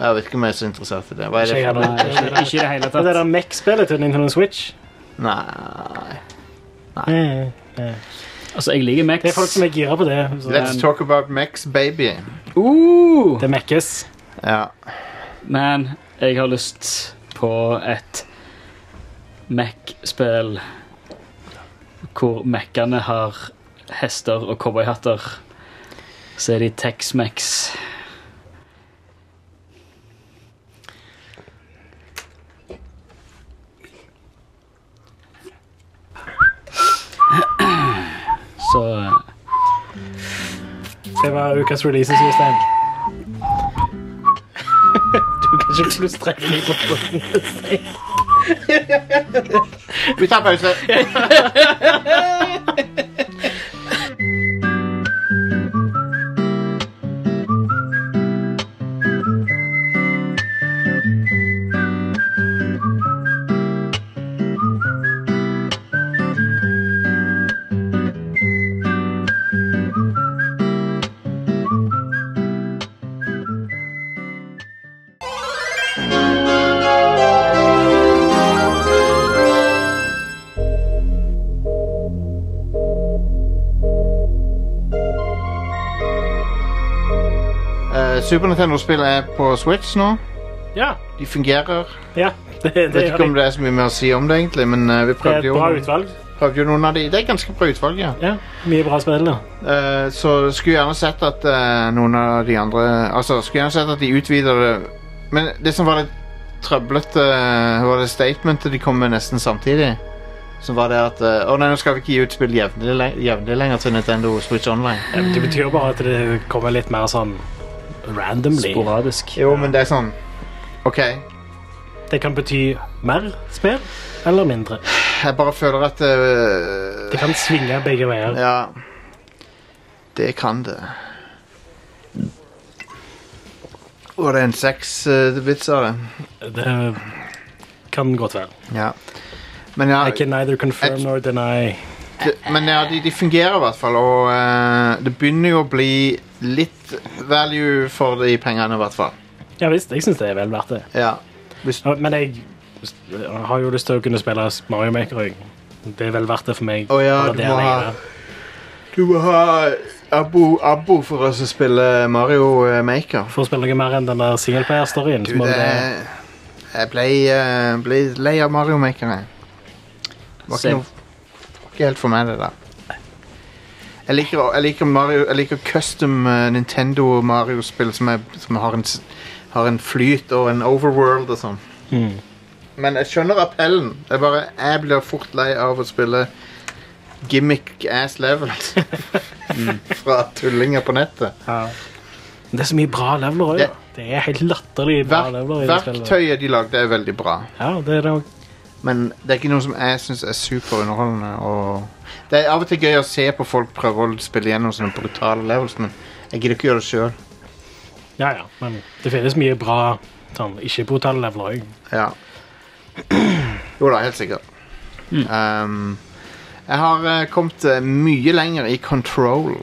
Speaker 1: Jeg vet ikke om jeg er så interessert i det. Hva er det for
Speaker 2: Nei, ikke, ikke i det hele
Speaker 3: Og det der
Speaker 2: tatt.
Speaker 3: Mech-spillet til Nintendo Switch.
Speaker 1: Nei.
Speaker 3: Eh,
Speaker 2: Altså, jeg liker Max.
Speaker 3: Det er folk som er gira på det. Så
Speaker 1: Let's
Speaker 2: Men-
Speaker 1: talk about Mex, baby.
Speaker 2: Uh!
Speaker 3: det mekkes.
Speaker 1: Ja.
Speaker 2: Men jeg har lyst på et Mac-spill hvor Mac-ene har hester og cowboyhatter. Så er de Tex-Mex. Så eh,
Speaker 3: Det var ukas releases, Jostein. Du kan ikke plystre deg på bunnen.
Speaker 1: Vi tar pause. Eh, Super Nintendo-spill er på Switch nå.
Speaker 3: Ja.
Speaker 1: De fungerer.
Speaker 3: ja. Det, det,
Speaker 1: Jeg vet ikke om det er så mye mer å si om det, egentlig, men eh, vi
Speaker 3: det er
Speaker 1: prøvde
Speaker 3: et
Speaker 1: jo,
Speaker 3: bra utvalg.
Speaker 1: prøvde jo noen av de. Det er ganske bra utvalg, ja.
Speaker 3: Ja, Mye bra spill. da.
Speaker 1: Eh, så skulle jeg gjerne sett at eh, noen av de andre Altså, skulle gjerne sett at de utvider det Men det som var litt trøblete, eh, var det statementet de kom med nesten samtidig. Som var det at eh, Å nei, nå skal vi ikke gi ut spill jevnlig, le- jevnlig lenger til Nintendo Switch Online.
Speaker 3: Ja, men Det betyr jo bare at det kommer litt mer sånn randomly.
Speaker 2: sporadisk.
Speaker 1: Jo, men det er sånn OK.
Speaker 3: Det kan bety mer spill eller mindre.
Speaker 1: Jeg bare føler at eh,
Speaker 3: Det kan svinge begge veier.
Speaker 1: Ja. Det kan det. Og det er en seks-vits av det.
Speaker 3: Det kan godt være.
Speaker 1: Ja. Men ja,
Speaker 3: I can neither confirm
Speaker 1: Jeg-
Speaker 3: nor deny.
Speaker 1: det, men ja de, de fungerer i hvert fall, og eh, det begynner jo å bli litt value for de pengene, i hvert fall.
Speaker 3: Ja visst, jeg syns det er vel verdt det.
Speaker 1: Ja. Hvis,
Speaker 3: Ja, Men jeg har jo lyst til å kunne spille Mario Maker. Jeg. Det er vel verdt det for meg.
Speaker 1: Å ja,
Speaker 3: Bare
Speaker 1: du
Speaker 3: det
Speaker 1: må
Speaker 3: alene.
Speaker 1: ha- du må ha abo, abo for oss å spille Mario eh, Maker.
Speaker 3: For å spille noe mer enn den der singleplayer-storyen.
Speaker 1: Du,
Speaker 3: så må
Speaker 1: det,
Speaker 3: det-
Speaker 1: jeg ble, eh, ble lei av Mario Maker, jeg. Det var ikke,
Speaker 2: Same.
Speaker 1: noe, ikke helt for meg, det der. Jeg liker, jeg liker, Mario, jeg liker custom eh, Nintendo Mario-spill som, er- som har, en, s- har en flyt og en overworld og sånn.
Speaker 3: Mm.
Speaker 1: Men jeg skjønner appellen. Jeg, bare, jeg blir fort lei av å spille gimmick-ass levels fra tullinger på nettet.
Speaker 3: Ja. Men Det er så mye bra leveler òg.
Speaker 1: Det-
Speaker 3: Det er helt latterlig bra
Speaker 1: Verk,
Speaker 3: leveler. i det spillet.
Speaker 1: verktøyet de lagde, er veldig bra.
Speaker 3: Ja, det er det også.
Speaker 1: Men det er ikke noe som jeg syns er superunderholdende. Og det er av og til gøy å se på folk prøve å spille gjennom sånne brutale levels, men jeg gidder ikke gjøre det sjøl.
Speaker 3: Ja, ja, men det finnes mye bra sånn, ikke-brutale leveler òg.
Speaker 1: Ja. Jo da, helt sikkert. Um, jeg har eh, kommet eh, mye lenger i control.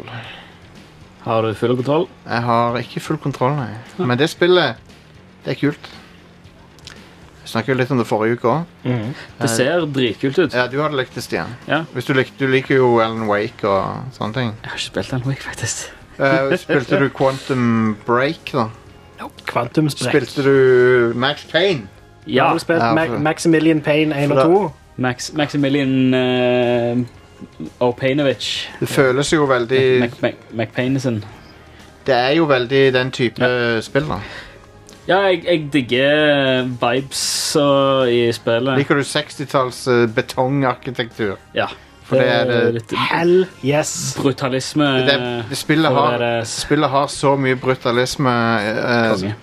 Speaker 2: Har du full kontroll?
Speaker 1: Jeg har ikke full kontroll, nei. Men det spillet, det er kult. Jeg snakket jo litt om det forrige uke òg.
Speaker 2: Det ser dritkult ut.
Speaker 1: Ja, du hadde likt det, Stian.
Speaker 2: Ja.
Speaker 1: Hvis du, lik, du liker jo Alan Wake og sånne ting.
Speaker 2: Jeg har ikke spilt den Wake, faktisk.
Speaker 1: Eh, spilte du Quantum Break, da?
Speaker 3: Kvantumsprekk.
Speaker 1: Spilte du Max Payne?
Speaker 2: Ja.
Speaker 3: Har du spilt
Speaker 1: Ja,
Speaker 3: Ma
Speaker 1: for-
Speaker 3: Maximilian Payne 1
Speaker 1: For
Speaker 3: og
Speaker 1: da-
Speaker 3: 2?
Speaker 2: Max, Maximilian uh, Opanovic.
Speaker 1: Det føles jo veldig
Speaker 2: Mac, Mac, Mac, Macpanison.
Speaker 1: Det er jo veldig den type spill, da.
Speaker 2: Ja, jeg, jeg digger vibes og, i spillet.
Speaker 1: Liker du 60-talls eh, betongarkitektur?
Speaker 2: Ja.
Speaker 1: For det er det-
Speaker 2: litt
Speaker 3: Hell yes.
Speaker 2: brutalisme.
Speaker 1: Det,
Speaker 2: Eh,
Speaker 1: det- spillet,
Speaker 2: og
Speaker 1: har,
Speaker 2: det er-
Speaker 1: spillet har så mye brutalisme. eh,
Speaker 2: konge.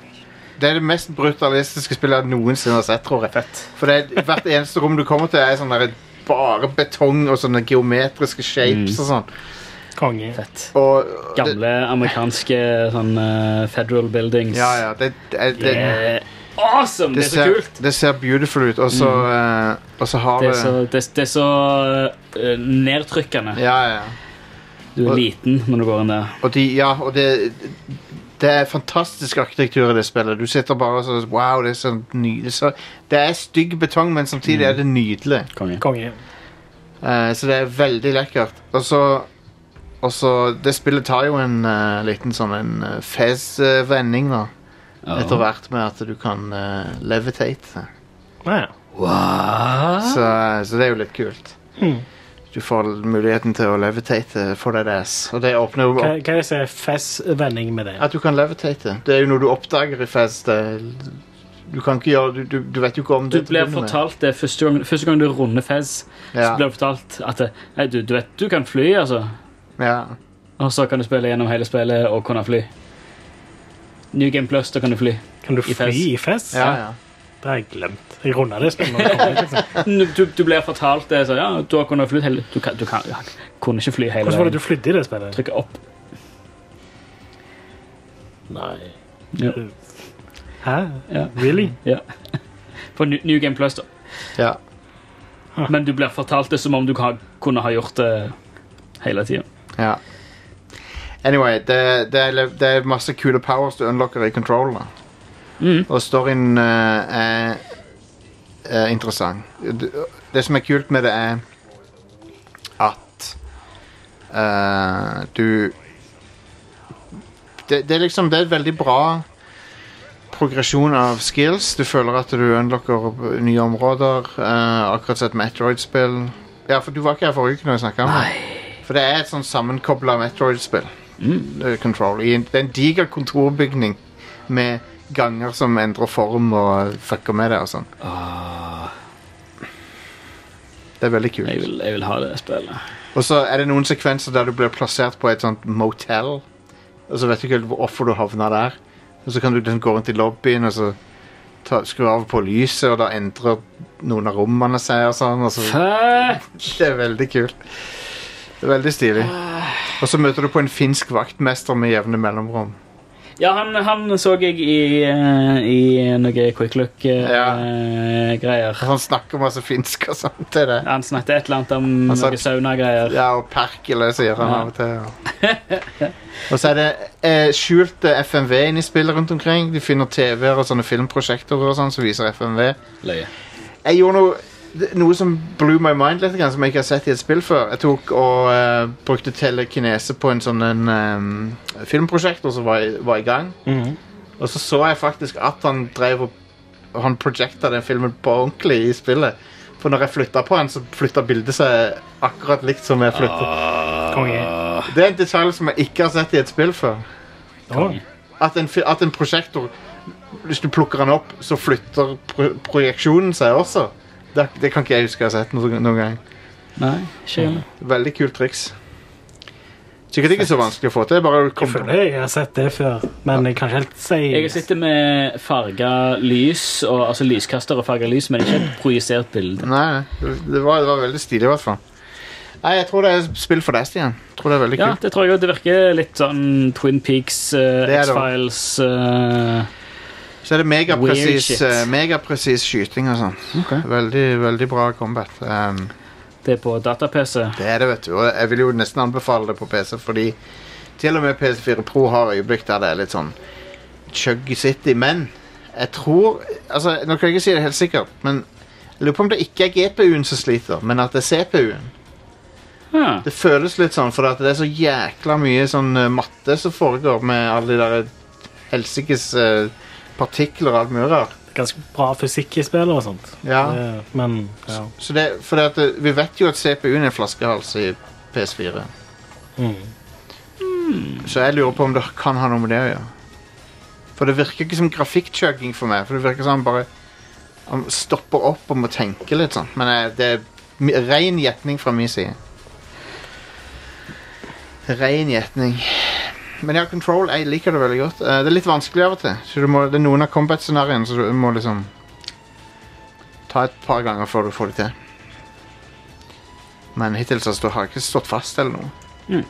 Speaker 1: det er det mest brutalistiske spillet jeg noensinne har sett, tror jeg.
Speaker 2: Fett.
Speaker 1: For det er, hvert eneste rom du kommer til, er sånn der, bare betong og sånne geometriske shapes og sånn.
Speaker 3: Konge.
Speaker 2: Fett.
Speaker 1: Og, og det,
Speaker 2: Mm. Gamle amerikanske sånn eh, federal buildings.
Speaker 1: ja, ja, det, det, det,
Speaker 2: Det er awesome! Det er så
Speaker 1: ser,
Speaker 2: kult.
Speaker 1: det ser beautiful ut, og så, eh, og så har
Speaker 2: Mm. Det
Speaker 1: det,
Speaker 2: er så, det, det er så eh, nedtrykkende.
Speaker 1: Ja, ja.
Speaker 2: Du
Speaker 1: Og-
Speaker 2: er liten når du går inn der.
Speaker 1: Og, de, ja, og det, det er fantastisk arkitektur i det spillet. Du sitter bare og så Wow, det er så nydelig. Så, det er stygg betong, men samtidig
Speaker 2: Mm.
Speaker 1: er det nydelig.
Speaker 2: Konge.
Speaker 3: Konge.
Speaker 1: Eh, så det er veldig lekkert. Og så og så, Det spillet tar jo en eh, liten sånn en eh, fez-vending, da.
Speaker 2: Ja.
Speaker 1: Etter hvert med at du kan eh, levitate.
Speaker 3: Ja, ja.
Speaker 2: Ah.
Speaker 1: Så, så det er jo litt kult.
Speaker 2: Mm.
Speaker 1: Du får muligheten til å levitate for deg ass. Og det åpner jo opp
Speaker 3: Hva hva er det som er fess-vending med det?
Speaker 1: At du kan levitate. Det er jo noe du oppdager i fest. det- Du kan ikke gjøre Du, du, du vet jo ikke om
Speaker 2: Du
Speaker 1: det. til å
Speaker 2: blir
Speaker 1: begynne med.
Speaker 2: fortalt det første gang, første gang du runder Fez. Så blir
Speaker 1: Ja.
Speaker 2: du fortalt at det, nei, du, du vet du kan fly, altså.
Speaker 1: ja.
Speaker 2: Og så kan du spille gjennom hele spillet og kunne fly. New Game Plus, da kan du fly.
Speaker 3: Kan du
Speaker 2: I
Speaker 3: fly
Speaker 2: fess.
Speaker 3: i fess?
Speaker 1: ja, ja.
Speaker 3: Det har jeg glemt. Jeg runda det spennende.
Speaker 2: Du, du blir fortalt det, så ja, du har kunnet fly hele Du, kan, du kan, ja, kunne ikke fly hele
Speaker 3: Hvordan var
Speaker 2: veien.
Speaker 3: det du flydde i det spillet?
Speaker 2: Trykke opp.
Speaker 3: Nei.
Speaker 2: Ja.
Speaker 3: Hæ?
Speaker 2: Ja.
Speaker 3: Really?
Speaker 2: På New, New Game Plus, da.
Speaker 1: ja.
Speaker 2: Men du blir fortalt det som om du kan, kunne ha gjort det hele tida.
Speaker 1: ja. Anyway, det, det, er, le- det er masse kule powers du unlocker i control. Da.
Speaker 2: Mm.
Speaker 1: Og storyen eh, er, er interessant. Det, det som er kult med det, er at eh, du det, det er liksom Det er et veldig bra progresjon av skills. Du føler at du unlocker opp nye områder. eh, akkurat som et Metroid-spill. Ja, for du var ikke her forrige uke når jeg snakka om det. For det er et sånn sammenkobla Metroid-spill. Eh, Control. I en, det er en diger kontorbygning med ganger som endrer form og fucker med det og sånn. Det er veldig
Speaker 2: Jeg,
Speaker 1: kult.
Speaker 2: vil- jeg vil ha det spillet.
Speaker 1: Og så er det noen sekvenser der du blir plassert på et sånt motel. Og så vet du ikke helt hvorfor du havna der. Og så kan du liksom gå rundt i lobbyen og så ta, skru av på lyset, og da endrer noen av rommene seg og sånn. Og så,
Speaker 2: Hæ?
Speaker 1: det er veldig kult. Det er veldig stilig. Og så møter du på en finsk vaktmester med jevne mellomrom.
Speaker 2: Ja, han, han så jeg i, eh, i noe Quick eh,
Speaker 1: Ja.
Speaker 2: Look-greier.
Speaker 1: Han snakker masse finsk og sånn til det.
Speaker 2: Han snakket et eller annet om
Speaker 1: Han sa-
Speaker 2: noe sauna-greier.
Speaker 1: Ja, og perkele, sier han
Speaker 2: Ja.
Speaker 1: av og til. ja. Og så er det eh, skjulte FMV inne i spillet rundt omkring. Du finner TV-er og sånne filmprosjektorer og sånn som viser FMV.
Speaker 2: Løye.
Speaker 1: Jeg gjorde noe, noe som blew my mind litt, grann, som jeg ikke har sett i et spill før. Jeg tok og eh, brukte telekinese på en sånn en, eh, filmprosjektor som var, i- var i gang. Og så så jeg faktisk at han drev og Han projecta den filmen på ordentlig i spillet. For når jeg flytta på han, så flytta bildet seg akkurat likt som jeg flytta.
Speaker 3: Konge.
Speaker 1: Det er en detalj som jeg ikke har sett i et spill før.
Speaker 3: Å,
Speaker 1: At en, fi- at en prosjektor Hvis du plukker den opp, så flytter pro projeksjonen seg også. Det, det kan ikke jeg huske jeg har sett noen, noen gang.
Speaker 2: Nei, ikke gjerne.
Speaker 1: Veldig kult triks. Sikkert ikke så vanskelig å få til. Bare
Speaker 3: jeg
Speaker 1: kom
Speaker 3: føler jeg har sett det før, men jeg kan ikke helt si
Speaker 2: Jeg sitter med farga lys, og, altså lyskaster og farga lys, men ikke et projisert bilde.
Speaker 1: Nei, det det var, det var veldig stilig, i hvert fall. Nei, jeg tror det er spill for deg, Stian. Jeg tror det er veldig
Speaker 2: Ja,
Speaker 1: kult.
Speaker 2: det tror jeg også. Det virker litt sånn Twin Peaks, eh,
Speaker 1: Det er det også.
Speaker 2: X-Files eh,
Speaker 1: Så er det
Speaker 2: Weird
Speaker 1: megapresis
Speaker 2: shit.
Speaker 1: eh, megapresis skyting og sånn. Veldig, veldig bra combat. Ehm,
Speaker 2: Det er på data-PC.
Speaker 1: det er det, vet du. Og jeg vil jo nesten anbefale det på PC, fordi til og med PS4 Pro har øyeblikk der det er litt sånn chuggy city. Men jeg tror Altså, nå kan jeg ikke si det helt sikkert, men jeg lurer på om det ikke er GPU-en som sliter, men at det er CPU-en.
Speaker 2: Ah,
Speaker 1: Det føles litt sånn, for at det er så jækla mye sånn eh, matte som foregår med alle de der helsikes eh, partikler og alt mulig rart.
Speaker 3: ganske bra fysikk i spillet og sånt.
Speaker 1: Ja.
Speaker 3: Det- Men ja.
Speaker 1: Så det, for det at det, vi vet jo at CPU-en er en flaskehals i PS4.
Speaker 3: Mm.
Speaker 1: Mm. Så jeg lurer på om det kan ha noe med det å gjøre. For det virker ikke som grafikkchugging for meg. For det virker som han bare han stopper opp og må tenke litt sånn. Men eh, det er mi- ren gjetning fra min side. Ren gjetning. Men ja, Control, jeg liker det veldig godt. Eh, det er litt vanskelig av og til. Så du må, det er noen av combat-scenarioene, så du må liksom ta et par ganger før du får det til. Men hittil så står- har jeg ikke stått fast eller noe.
Speaker 2: Mm.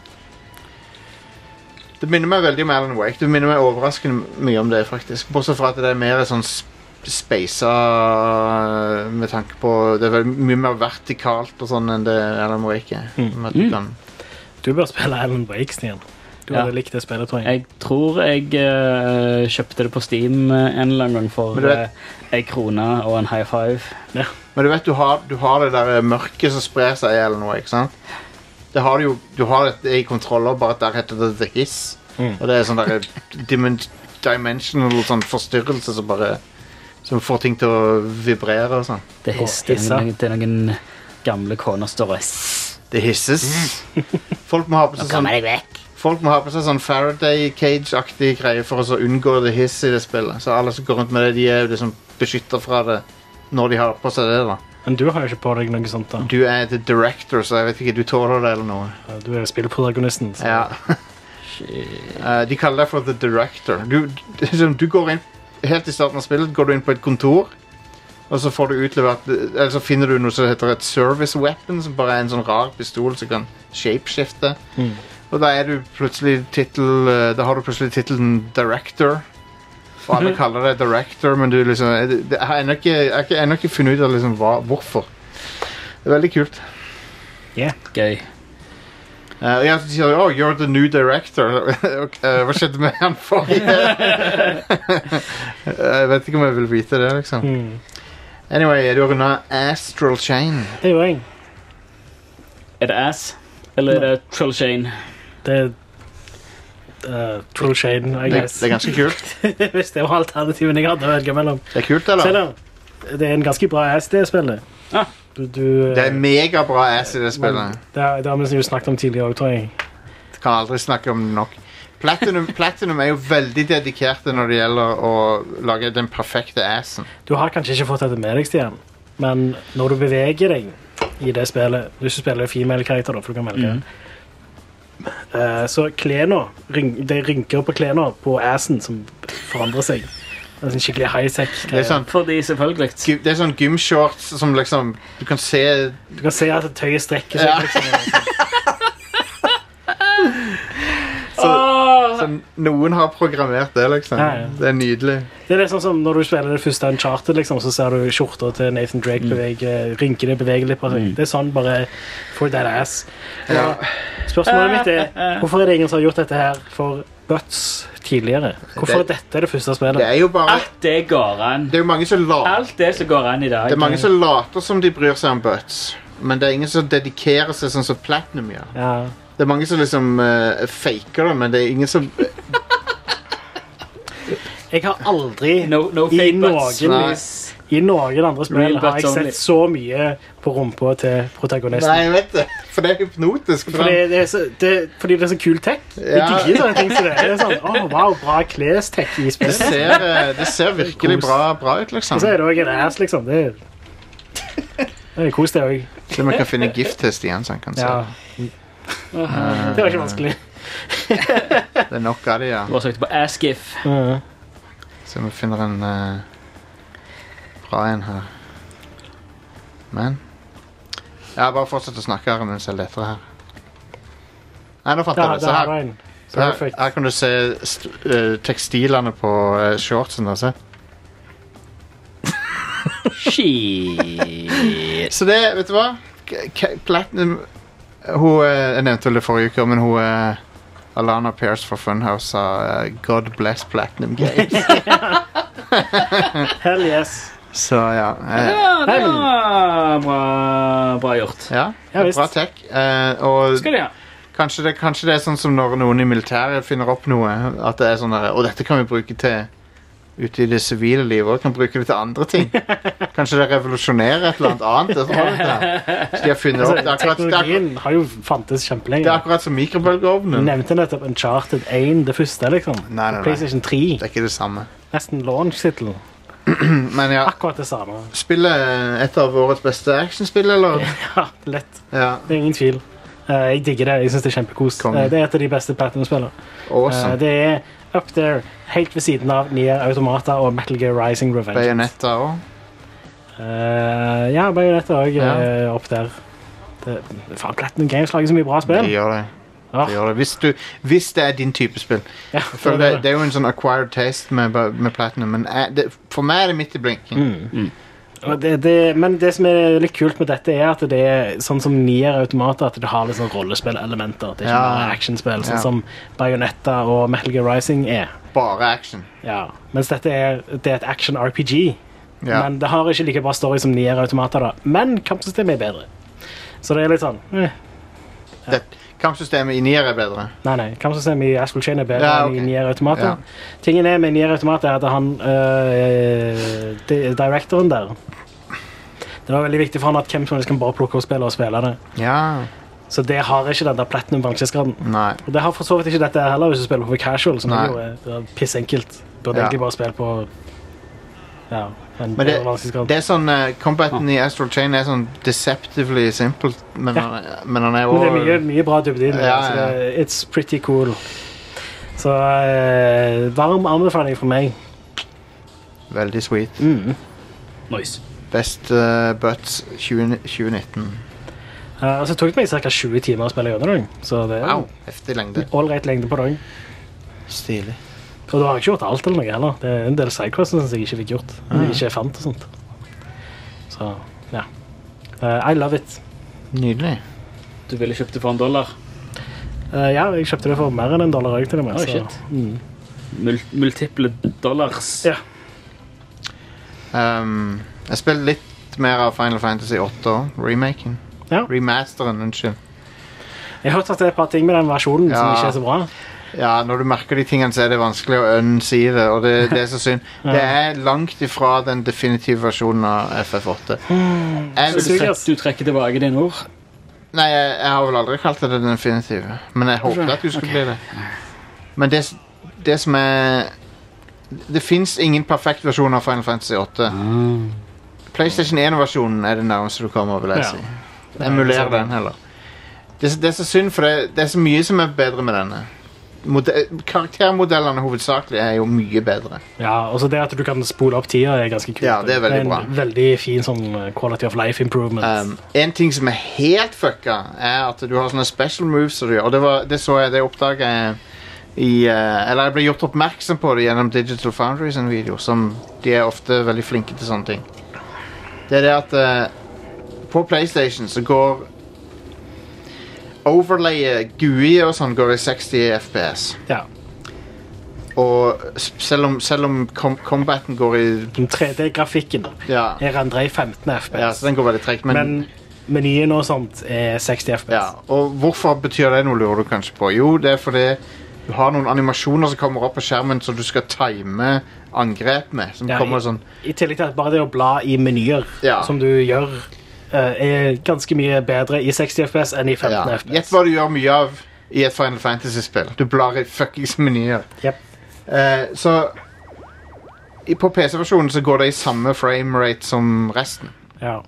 Speaker 1: Det minner meg veldig om Alan Wake. Det minner meg overraskende mye om det, faktisk. Bortsett fra at det er mer sånn sp- speisa med tanke på Det er vel mye mer vertikalt og sånn enn det Alan Wake er. Med at du
Speaker 2: Mm.
Speaker 1: kan-
Speaker 3: Du bør spille Alan Wake, Stian. Du
Speaker 2: Ja.
Speaker 3: hadde likt det spillet, tror jeg.
Speaker 2: Jeg tror jeg eh, kjøpte det på Steam eh, en eller annen gang for
Speaker 1: Men du vet-
Speaker 2: eh, ei krone og en high five.
Speaker 1: Men du vet, du har, du har det der eh, mørket som sprer seg i Alan Wake, sant? Det har du jo Du har det i kontroller, bare at der heter det The Hiss.
Speaker 3: Mm.
Speaker 1: Og det er sånn derre dimen dimensional sånn forstyrrelse som bare Som får ting til å vibrere og sånn.
Speaker 2: Det
Speaker 3: Å,
Speaker 2: hister
Speaker 3: hissa.
Speaker 2: noen, til noen gamle koner står og «Sss,
Speaker 1: Det hisses. Folk må ha på
Speaker 2: Nå
Speaker 1: seg sånn
Speaker 2: kommer jeg vekk.
Speaker 1: Folk må ha på seg sånn Faraday Cage-aktig greie for å så unngå det hiss i det spillet. Så alle som går rundt med det, de er jo liksom beskytta fra det når de har på seg det. da
Speaker 3: Men du har jo ikke på deg noe sånt. da.
Speaker 1: Du er the director, så jeg vet ikke, du tåler det eller noe.
Speaker 3: Du er jo spillprotagonisten. så-
Speaker 1: Ja. Eh, de kaller deg for The Director. Du, det er sånn, du går inn Helt i starten av spillet går du inn på et kontor, og så får du utlevert Eller så finner du noe som heter et service weapon, som bare er en sånn rar pistol som kan shapeshifte.
Speaker 3: Mm.
Speaker 1: Og da er du plutselig tittel eh, Da har du plutselig tittelen Director. Og alle kaller deg Director, men du liksom er- det- Jeg har ennå ikke, jeg har ikke- ennå ikke funnet ut av liksom hva, hvorfor. Det er veldig kult.
Speaker 2: Gøy.
Speaker 1: Eh, og jeg sier oh, you're the new director. Ok, eh, hva skjedde med han forrige? Eh, jeg vet ikke om jeg vil vite det, liksom.
Speaker 3: Mm.
Speaker 1: Anyway, du har runda Astral Chain.
Speaker 3: Det gjorde jeg.
Speaker 2: Er det ass? Eller er det Trollshane?
Speaker 3: Det er eh, True Shade, I
Speaker 1: Det,
Speaker 3: guess.
Speaker 1: det er ganske kult.
Speaker 3: Hvis det var alternativen jeg hadde å velge mellom.
Speaker 1: Det er kult,
Speaker 3: Se
Speaker 1: eller?
Speaker 3: der. Det er en ganske bra ass, det spillet.
Speaker 2: Ah.
Speaker 3: Du, du, eh,
Speaker 1: Det er megabra ass i det
Speaker 3: men
Speaker 1: spillet.
Speaker 3: Det, har- det har vi jo snakket om tidligere òg, tror jeg.
Speaker 1: Kan aldri snakke om det nok. Platinum, Platinum er jo veldig dedikerte når det gjelder å lage den perfekte assen.
Speaker 3: Du har kanskje ikke fått dette med deg, Stian, men når du beveger deg i det spillet Hvis du spiller female karakter, da, for du kan velge
Speaker 2: Mhm.
Speaker 3: eh, Så klærne ryn- Det er rynker på klærne på assen som forandrer seg. Det er en skikkelig
Speaker 1: Det er
Speaker 3: high-tech.
Speaker 1: sånn,
Speaker 2: Fordi, selvfølgelig.
Speaker 1: gy- det er sånn gymshorts som liksom Du kan se
Speaker 3: Du kan se at tøyet strekker seg.
Speaker 1: Ja.
Speaker 3: Liksom.
Speaker 2: Ah,
Speaker 1: Så sånn, noen har programmert det, liksom.
Speaker 3: Ja, ja.
Speaker 1: Det er nydelig.
Speaker 3: Det er litt sånn som Når du spiller det første Uncharted, liksom, så ser du skjorta til Nathan Drake
Speaker 2: Mm.
Speaker 3: bevege, rynkene bevege litt på seg. Det er sånn bare for that ass.
Speaker 1: Ja.
Speaker 3: Spørsmålet mitt
Speaker 2: Eh,
Speaker 3: er hvorfor er det ingen som har gjort dette her for Butts tidligere? Hvorfor er
Speaker 1: Det-
Speaker 3: dette det første
Speaker 1: Det
Speaker 3: spillet?
Speaker 1: er jo bare
Speaker 2: Alt det går an.
Speaker 1: Det er jo mange som later
Speaker 2: Alt det som går an i dag.
Speaker 1: Det er mange som later som de bryr seg om butts. Men det er ingen som dedikerer seg sånn som Platinum gjør.
Speaker 3: Ja.
Speaker 1: Det er mange som liksom eh, faker det, men det er ingen som
Speaker 3: Jeg har aldri
Speaker 2: No, no
Speaker 3: i,
Speaker 2: fake butts,
Speaker 3: noen,
Speaker 2: please.
Speaker 3: i noen andre
Speaker 2: Real
Speaker 3: spill har jeg
Speaker 2: butts only.
Speaker 3: sett så mye på rumpa til
Speaker 1: Nei,
Speaker 3: protagonisten.
Speaker 1: jeg vet det. For det er hypnotisk. For
Speaker 3: Fordi
Speaker 1: den,
Speaker 3: det, er så, det, fordi det er så kul tech. Jeg
Speaker 1: Ja.
Speaker 3: digger sånne ting som det. Det er sånn, åh, wow, bra klestech i
Speaker 1: det,
Speaker 3: spillet.
Speaker 1: ser, eh, det ser virkelig bra, bra ut, liksom.
Speaker 3: Og så er det òg en ass, liksom. Det er, det er kos, det òg.
Speaker 1: Så vi kan finne gift-test igjen, så han kan se.
Speaker 3: Ja. Det var ikke vanskelig.
Speaker 1: Det er nok av det, ja.
Speaker 2: Du har søkt på Askif.
Speaker 1: Så vi finner en eh, bra en her. Men Ja, bare fortsett å snakke her mens jeg leter her. Nei, nå fant
Speaker 3: Ja,
Speaker 1: jeg det.
Speaker 3: det
Speaker 1: Se her.
Speaker 3: var en.
Speaker 1: Så her,
Speaker 3: Perfekt.
Speaker 1: her kan du se st eh, tekstilene på eh, shortsen. da, se.
Speaker 2: Shit.
Speaker 1: Så det, vet du hva? K K Platinum hun, eh, Jeg nevnte vel det forrige uke, men hun eh, Alana Pearce fra Funhouse sa eh, 'God bless Platinum Games'.
Speaker 3: Hell yes.
Speaker 1: Så ja. eh,
Speaker 2: Ja, det var bra, bra gjort.
Speaker 1: ja,
Speaker 3: Ja, visst.
Speaker 1: Bra tech. eh, og
Speaker 2: Skal de ha.
Speaker 1: Kanskje det, kanskje det er sånn som når noen i militæret finner opp noe. At det er sånn der, Og dette kan vi bruke til ute i det sivile livet og kan bruke det til andre ting. Kanskje det revolusjonerer et eller annet annet. altså, Det tror jeg ikke. Så de har funnet opp, det, er akkurat, det, er akkurat,
Speaker 3: Altså, Teknologien har jo fantes
Speaker 1: det er
Speaker 3: kjempelenge.
Speaker 1: akkurat som mikrobølgeovnen.
Speaker 3: Nevnte nettopp Uncharted 1, det første, liksom.
Speaker 1: Nei, nei, nei.
Speaker 3: PlayStation 3,
Speaker 1: Det er ikke det samme.
Speaker 3: nesten launch-tittel.
Speaker 1: Men ja,
Speaker 3: Akkurat det samme.
Speaker 1: spillet et av årets beste actionspill, eller?
Speaker 3: Ja, lett.
Speaker 1: Ja,
Speaker 3: Det er ingen tvil. Eh, jeg digger det. Jeg synes Det er kjempekos.
Speaker 1: Konge.
Speaker 3: Eh, det er et av de beste Platinum-spillene. Eh,
Speaker 1: awesome.
Speaker 3: det er up there, helt ved siden av Nier Automata og Metal Gear Rising Revenge.
Speaker 1: Bayonetta òg.
Speaker 3: Eh, ja, Bayonetta òg
Speaker 1: Ja.
Speaker 3: eh, opp der. Det, faen, Platinum Games lager så mye bra
Speaker 1: De
Speaker 3: spill.
Speaker 1: gjør det.
Speaker 3: Ah.
Speaker 1: De gjør det. Hvis, du, hvis det er din type spill.
Speaker 3: Ja,
Speaker 1: Jeg føler det, det er jo en sånn acquired taste med, med Platinum, men jeg, det, for meg er det midt i blinken.
Speaker 3: Mm. Og det, det, men det som er litt kult med dette, er at det er sånn som Nier Automata, at det har litt sånn rollespillelementer. Det er ikke
Speaker 1: Ja.
Speaker 3: bare actionspill, sånn
Speaker 1: Ja.
Speaker 3: som Bayonetta og Metal Gear Rising er.
Speaker 1: Bare action.
Speaker 3: Ja. Mens dette er, det er et action-RPG.
Speaker 1: Ja.
Speaker 3: Men det har ikke like bra story som Nier Automata, da. Men kampsystemet er bedre. Så det er litt sånn eh,
Speaker 1: Det, kampsystemet i Nier er bedre.
Speaker 3: Nei, nei. Kampsystemet i Asphalt Chain er bedre
Speaker 1: Ja, ok.
Speaker 3: enn i Nier Automata.
Speaker 1: Ja.
Speaker 3: Tingen er med Nier Automata er at han øh, di- Directoren der Det var veldig viktig for han at hvem som helst kan bare plukke opp spillet og spille det.
Speaker 1: Ja.
Speaker 3: Så det har ikke den der platinum-vanskelighetsgraden.
Speaker 1: Nei.
Speaker 3: Og det har for så vidt ikke dette heller, hvis du spiller på casual, som
Speaker 1: Nei.
Speaker 3: er jo er- det er pissenkelt. Burde
Speaker 1: Ja.
Speaker 3: egentlig bare spille på ja, en
Speaker 1: Men det,
Speaker 3: bedre vanskelighetsgrad.
Speaker 1: det er sånn eh, Combaten i Astral Chain er sånn deceptively simple, men,
Speaker 3: Ah. Ja.
Speaker 1: han, men han er
Speaker 3: Men det er mye,
Speaker 1: også
Speaker 3: mye bra dybde i det.
Speaker 1: Ja,
Speaker 3: så
Speaker 1: ja.
Speaker 3: det- It's pretty cool. Så eh, varm anbefaling for meg.
Speaker 1: veldig sweet.
Speaker 2: Nice.
Speaker 1: Best eh, butts 20, 2019.
Speaker 3: Eh, og så tok det meg ca. 20 timer å spille gjennom den. Så det er
Speaker 1: Wow,
Speaker 3: jo
Speaker 1: heftig lengde.
Speaker 3: all right lengde på dagen.
Speaker 1: Stilig.
Speaker 3: Og da har jeg ikke gjort alt eller noe heller. Det er en del sidequests som jeg ikke fikk gjort. Som
Speaker 1: Ah.
Speaker 3: jeg ikke fant og sånt. Så ja. Eh, I love it.
Speaker 1: Nydelig.
Speaker 2: Du ville kjøpt det for en dollar.
Speaker 3: Eh, ja, jeg kjøpte det for mer enn en dollar òg, til og med.
Speaker 2: Oi,
Speaker 3: så-
Speaker 2: shit. Mul multiple dollars.
Speaker 3: Ja.
Speaker 1: Um, jeg spiller litt mer av Final Fantasy 8 òg. Remaken.
Speaker 3: Ja.
Speaker 1: Remasteren, unnskyld.
Speaker 3: Jeg har hørt at det er et par ting med den versjonen som
Speaker 1: Ja.
Speaker 3: ikke er så bra.
Speaker 1: Ja, når du merker de tingene, så er det vanskelig å unnsi det, og det, det er så synd. Det er langt ifra den definitive versjonen av FF8. Jeg vil
Speaker 3: Det
Speaker 2: Du,
Speaker 3: suger.
Speaker 1: si
Speaker 2: trekk, du trekker tilbake dine ord.
Speaker 1: Nei, jeg, jeg har vel aldri kalt det det definitive, men jeg håpet at du skulle bli det. Men det, s- det som er Det fins ingen perfekt versjon av Final Fantasy 8. PlayStation 1-versjonen er det nærmeste du kommer, vil jeg
Speaker 3: Ja.
Speaker 1: si. Emuler den heller. Det, er så- det er så synd, for det, det er så mye som er bedre med denne. Mode karaktermodellene hovedsakelig er jo mye bedre.
Speaker 3: Ja, og så det at du kan spole opp tida, er ganske kult.
Speaker 1: Ja, det er veldig
Speaker 3: en
Speaker 1: bra.
Speaker 3: veldig fin sånn eh, quality of life improvement.
Speaker 1: Um, en ting som er helt fucka, er at du har sånne special moves som du gjør. Og det, var, det så jeg, det oppdaga jeg i eh, Eller jeg ble gjort oppmerksom på det gjennom Digital Foundry sin video, som de er ofte veldig flinke til sånne ting. Det er det at eh, på PlayStation så går Overlayet, GUI og sånn, går i 60 FPS.
Speaker 3: ja.
Speaker 1: Og s- selv om, selv om com combaten går i
Speaker 3: Den 3D-grafikken
Speaker 1: Ja.
Speaker 3: er rendret i 15 FPS,
Speaker 1: ja, så den går veldig tregt, men,
Speaker 3: men menyen og sånt er 60 FPS.
Speaker 1: ja. Og hvorfor betyr det noe, lurer du kanskje på? Jo, det er fordi du har noen animasjoner som kommer opp på skjermen som du skal time angrep med. Som
Speaker 3: Ja,
Speaker 1: kommer
Speaker 3: i,
Speaker 1: sånn
Speaker 3: I tillegg til at bare det å bla i menyer,
Speaker 1: Ja.
Speaker 3: som du gjør, eh, er ganske mye bedre i 60 FPS enn i 15
Speaker 1: ja. Gjett
Speaker 3: FPS.
Speaker 1: hva du gjør mye av i et Final Fantasy-spill. Du blar i fuckings menyer.
Speaker 3: Jep.
Speaker 1: Eh, så i- På PC-versjonen så går det i samme framerate som resten.
Speaker 3: Ja.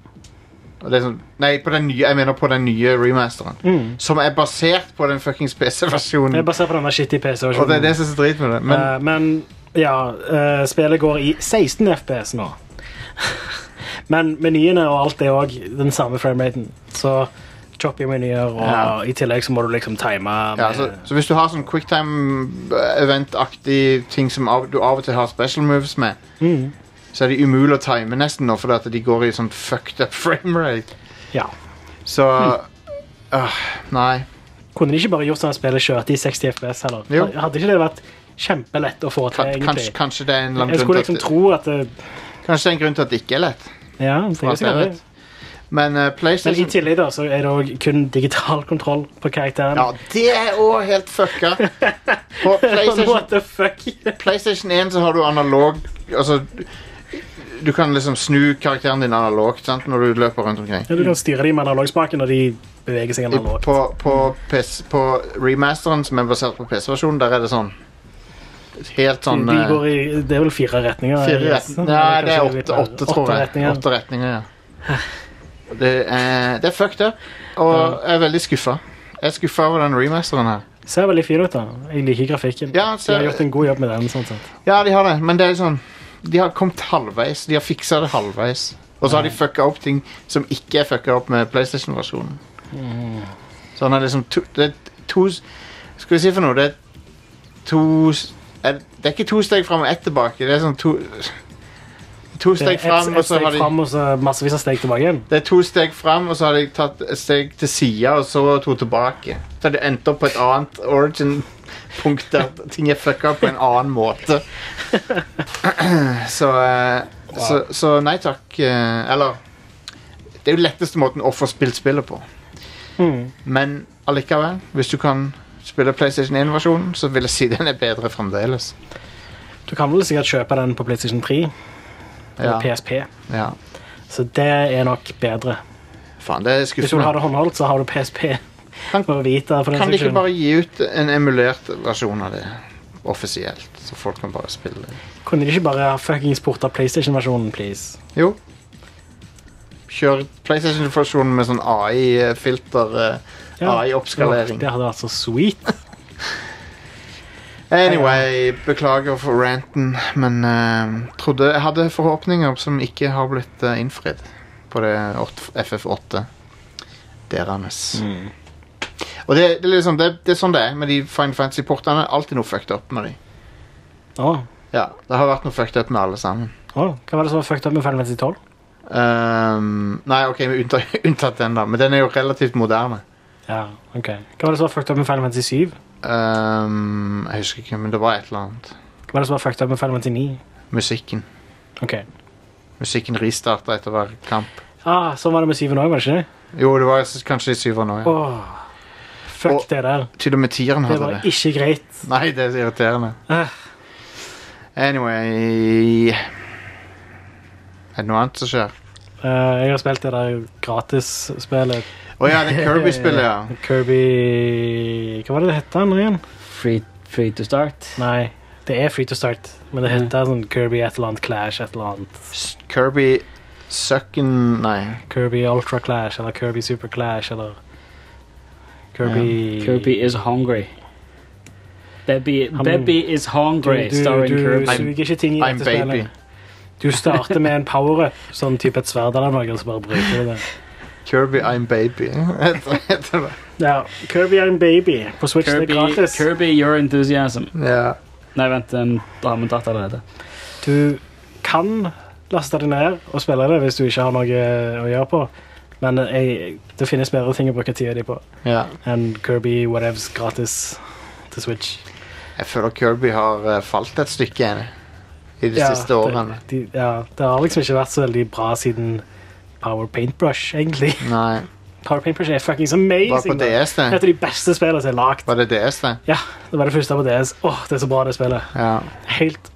Speaker 1: Og det er sånn, nei, på den nye, jeg mener på den nye remasteren. Som er basert på den fuckings
Speaker 3: Mm. Det
Speaker 1: PC-versjonen.
Speaker 3: er basert på denne shitty PC-versjonen.
Speaker 1: Og det er det som er så drit med det. Men
Speaker 3: Eh, men ja, eh, spillet går i 16 FPS nå. men menyene og alt er òg den samme frameraten. Så choppy menyer, og
Speaker 1: Ja.
Speaker 3: i tillegg så må du liksom time med,
Speaker 1: ja, så, så hvis du har sånn quicktime-event-aktig ting som av, du av og til har special moves med,
Speaker 3: Mm.
Speaker 1: så er de umulig å time nesten nå, fordi at de går i sånn fucked up framerate.
Speaker 3: ja. Mm.
Speaker 1: Så øh, Nei.
Speaker 3: Kunne de ikke bare gjort sånn at spillet kjørte i 60 FPS heller?
Speaker 1: Jo.
Speaker 3: Hadde ikke det vært kjempelett å få til,
Speaker 1: Kan,
Speaker 3: egentlig?
Speaker 1: kanskje, kanskje det er en eller
Speaker 3: Jeg
Speaker 1: annen
Speaker 3: skulle
Speaker 1: grunn til
Speaker 3: liksom
Speaker 1: at,
Speaker 3: tro at det,
Speaker 1: Kanskje det er en grunn til at det ikke er lett.
Speaker 3: Ja, det
Speaker 1: For
Speaker 3: er
Speaker 1: alt jeg
Speaker 3: sikkert det.
Speaker 1: vet. Men eh,
Speaker 3: Men i
Speaker 1: PlayStation
Speaker 3: tillegg da, så er det også kun digital kontroll på karakteren.
Speaker 1: Ja, det er òg helt fucka. På PlayStation
Speaker 3: What the fuck?
Speaker 1: PlayStation 1 så har du analog Altså Du kan liksom snu karakteren din analogt sant, når du løper rundt omkring.
Speaker 3: Ja, du kan styre dem med analogspaken når de beveger seg
Speaker 1: I,
Speaker 3: analogt.
Speaker 1: på, på, PS, på remasteren som er basert på PC-versjonen, der er det sånn Helt sånn
Speaker 3: de
Speaker 1: eh,
Speaker 3: går i, det er vel fire retninger?
Speaker 1: fire
Speaker 3: yes.
Speaker 1: retninger. Nei, det er
Speaker 3: Kanskje litt
Speaker 1: åtte,
Speaker 3: mer.
Speaker 1: åtte tror jeg.
Speaker 3: retninger.
Speaker 1: Åtte retninger, ja. Det er, det er fucked up, og jeg er veldig skuffa. Jeg er skuffa over den remasteren her.
Speaker 3: Ser veldig fin ut, da. Jeg liker grafikken.
Speaker 1: Ja,
Speaker 3: de
Speaker 1: ser-
Speaker 3: har gjort en god jobb med den. sånn sett.
Speaker 1: Ja, de har det, men det er sånn De har kommet halvveis. De har fiksa det halvveis. Og så har de fucka opp ting som ikke er fucka opp med PlayStation-versjonen.
Speaker 3: Mm.
Speaker 1: Så han er liksom to, Det er to s- Skal vi si for noe? Det er to s- er, Det er ikke to steg fram og ett tilbake. Det er sånn to To
Speaker 3: Det er
Speaker 1: steg fram,
Speaker 3: et,
Speaker 1: og
Speaker 3: et
Speaker 1: så
Speaker 3: steg
Speaker 1: har de
Speaker 3: fram, og så massevis av steg tilbake igjen.
Speaker 1: det er to steg fram, og så har de tatt et steg til sida, og så to tilbake. Så de endte opp på et annet origin-punkt der ting er fucka på en annen måte. så, eh, så, så nei takk. eh, Eller Det er jo letteste måten å få spilt spillet på.
Speaker 3: Hmm.
Speaker 1: Men allikevel, hvis du kan spille PlayStation 1-versjonen, så vil jeg si den er bedre fremdeles.
Speaker 3: Du kan vel sikkert kjøpe den på PlayStation 3 eller
Speaker 1: Ja,
Speaker 3: PSP,
Speaker 1: ja.
Speaker 3: så det er nok bedre.
Speaker 1: Faen, det er
Speaker 3: Hvis du har
Speaker 1: skuffende.
Speaker 3: det håndholdt, så har du PSP.
Speaker 1: Kan-
Speaker 3: Og Vita, for den
Speaker 1: Kan de
Speaker 3: saks
Speaker 1: ikke
Speaker 3: skyld.
Speaker 1: bare gi ut en emulert versjon av det offisielt? Så folk kan bare spille det.
Speaker 3: Kunne de ikke bare ha fuckings porta PlayStation-versjonen, please?
Speaker 1: Jo. Kjør PlayStation-versjonen med sånn eh, AI-filter. Ah,
Speaker 3: Ja.
Speaker 1: AI-oppskalering.
Speaker 3: Det hadde vært så sweet.
Speaker 1: Anyway, beklager for ranten, men eh, trodde jeg hadde forhåpninger som ikke har blitt eh, innfridd på det åt- FF8 deres. Og det, det, er liksom, det, det er sånn det er med de Fine Fantasy-portene. Alltid noe fucked up med de.
Speaker 3: Å,
Speaker 1: Ja, Det har vært noe fucked up med alle sammen.
Speaker 3: å, hva var det som var fucked up med Final Fantasy 12?
Speaker 1: Ehm, nei, ok, men unntatt, unntatt den, da. Men den er jo relativt moderne.
Speaker 3: Ja, ok. Hva var det som var fucked up med Final Fantasy 7?
Speaker 1: Ehm, jeg husker ikke, men det var et eller annet.
Speaker 3: Hva var det som var fucked up med Final Fantasy 9?
Speaker 1: Musikken.
Speaker 3: Ok.
Speaker 1: Musikken restarta etter hver kamp.
Speaker 3: Ah, sånn var det med 7 òg, var det ikke? det?
Speaker 1: Jo, det var s- kanskje i syveren òg. Ja.
Speaker 3: Åh, fuck
Speaker 1: Og-
Speaker 3: det der.
Speaker 1: Til og med tieren
Speaker 3: Det
Speaker 1: hadde
Speaker 3: var
Speaker 1: det.
Speaker 3: ikke greit.
Speaker 1: Nei, det er så irriterende.
Speaker 3: Ah.
Speaker 1: Anyway Er det noe annet som skjer?
Speaker 3: Eh, jeg har spilt det der gratisspillet.
Speaker 1: Å Oh ja, det er Kirby-spillet, ja.
Speaker 3: Kirby Hva var det det het nå igjen?
Speaker 2: Free, free to start.
Speaker 3: Nei, det er Free to Start, men det heter sånn Kirby et eller annet Clash et eller annet.
Speaker 1: S- Kirby Sucken Nei.
Speaker 3: Kirby Ultra Clash eller Kirby Super Clash eller Kirby
Speaker 2: Kirby is hungry. Baby,
Speaker 3: Han-
Speaker 2: baby is
Speaker 3: Du,
Speaker 2: hungry,
Speaker 3: du,
Speaker 2: starring
Speaker 3: du
Speaker 2: Kirby.
Speaker 1: I'm-
Speaker 3: suger ikke ting i
Speaker 1: I'm
Speaker 3: dette
Speaker 1: baby.
Speaker 3: spillet. Du starter med en power-up, sånn type et sverd eller noe, og så bare bruker du det.
Speaker 1: Kirby I'm baby. Heter heter det.
Speaker 3: Ja, Kirby er en baby. På Switch det er
Speaker 2: Kirby,
Speaker 3: gratis.
Speaker 2: Kirby, your enthusiasm.
Speaker 1: Ja.
Speaker 2: Nei, vent, den da har vi tatt allerede.
Speaker 3: Du kan laste det ned og spille det hvis du ikke har noe å gjøre på. Men jeg, det finnes bedre ting å bruke tida di på
Speaker 1: ja.
Speaker 3: enn Kirby whatevs gratis til Switch.
Speaker 1: Jeg føler Kirby har eh, falt et stykke igjen i de siste årene.
Speaker 3: Det, de, ja, det har liksom ikke vært så veldig bra siden Power Paintbrush, egentlig.
Speaker 1: Nei.
Speaker 3: Power Paintbrush er fuckings
Speaker 1: Var det
Speaker 3: amazing.
Speaker 1: på
Speaker 3: da.
Speaker 1: DS, eh? det?
Speaker 3: Det er Et av de beste spillene som er lagd.
Speaker 1: Var det DS, det?
Speaker 3: Ja, det var det første på DS. Åh, det er så bra, det spillet.
Speaker 1: Ja.
Speaker 3: Helt,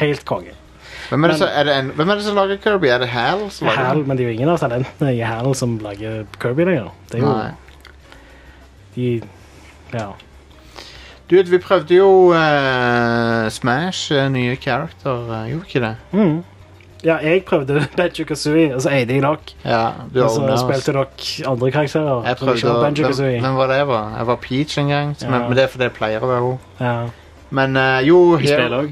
Speaker 3: helt konge.
Speaker 1: Hvem er, det
Speaker 3: Men-
Speaker 1: som, er det en, hvem er det som lager Kirby? Er det Hal? som lager
Speaker 3: Hal,
Speaker 1: den?
Speaker 3: men det er jo ingen av talentene i Hal som lager Kirby lenger. Det er jo
Speaker 1: Nei.
Speaker 3: de Ja.
Speaker 1: Du, vi prøvde jo eh, Smash, eh, nye character. eh, gjorde vi ikke det?
Speaker 3: Mm. Ja, jeg prøvde Benjo Kazooie, og så eide jeg nok.
Speaker 1: Ja, du
Speaker 3: Og så
Speaker 1: owner oss.
Speaker 3: spilte dere andre karakterer.
Speaker 1: Jeg
Speaker 3: som ikke
Speaker 1: prøvde
Speaker 3: var
Speaker 1: å
Speaker 3: Banjo
Speaker 1: hvem,
Speaker 3: Kazooie.
Speaker 1: hvem var det? jeg var? Jeg var Peach en gang.
Speaker 3: Ja.
Speaker 1: Men, men det er fordi jeg pleier å være henne.
Speaker 3: Ja.
Speaker 1: Men eh, jo
Speaker 2: I spill òg.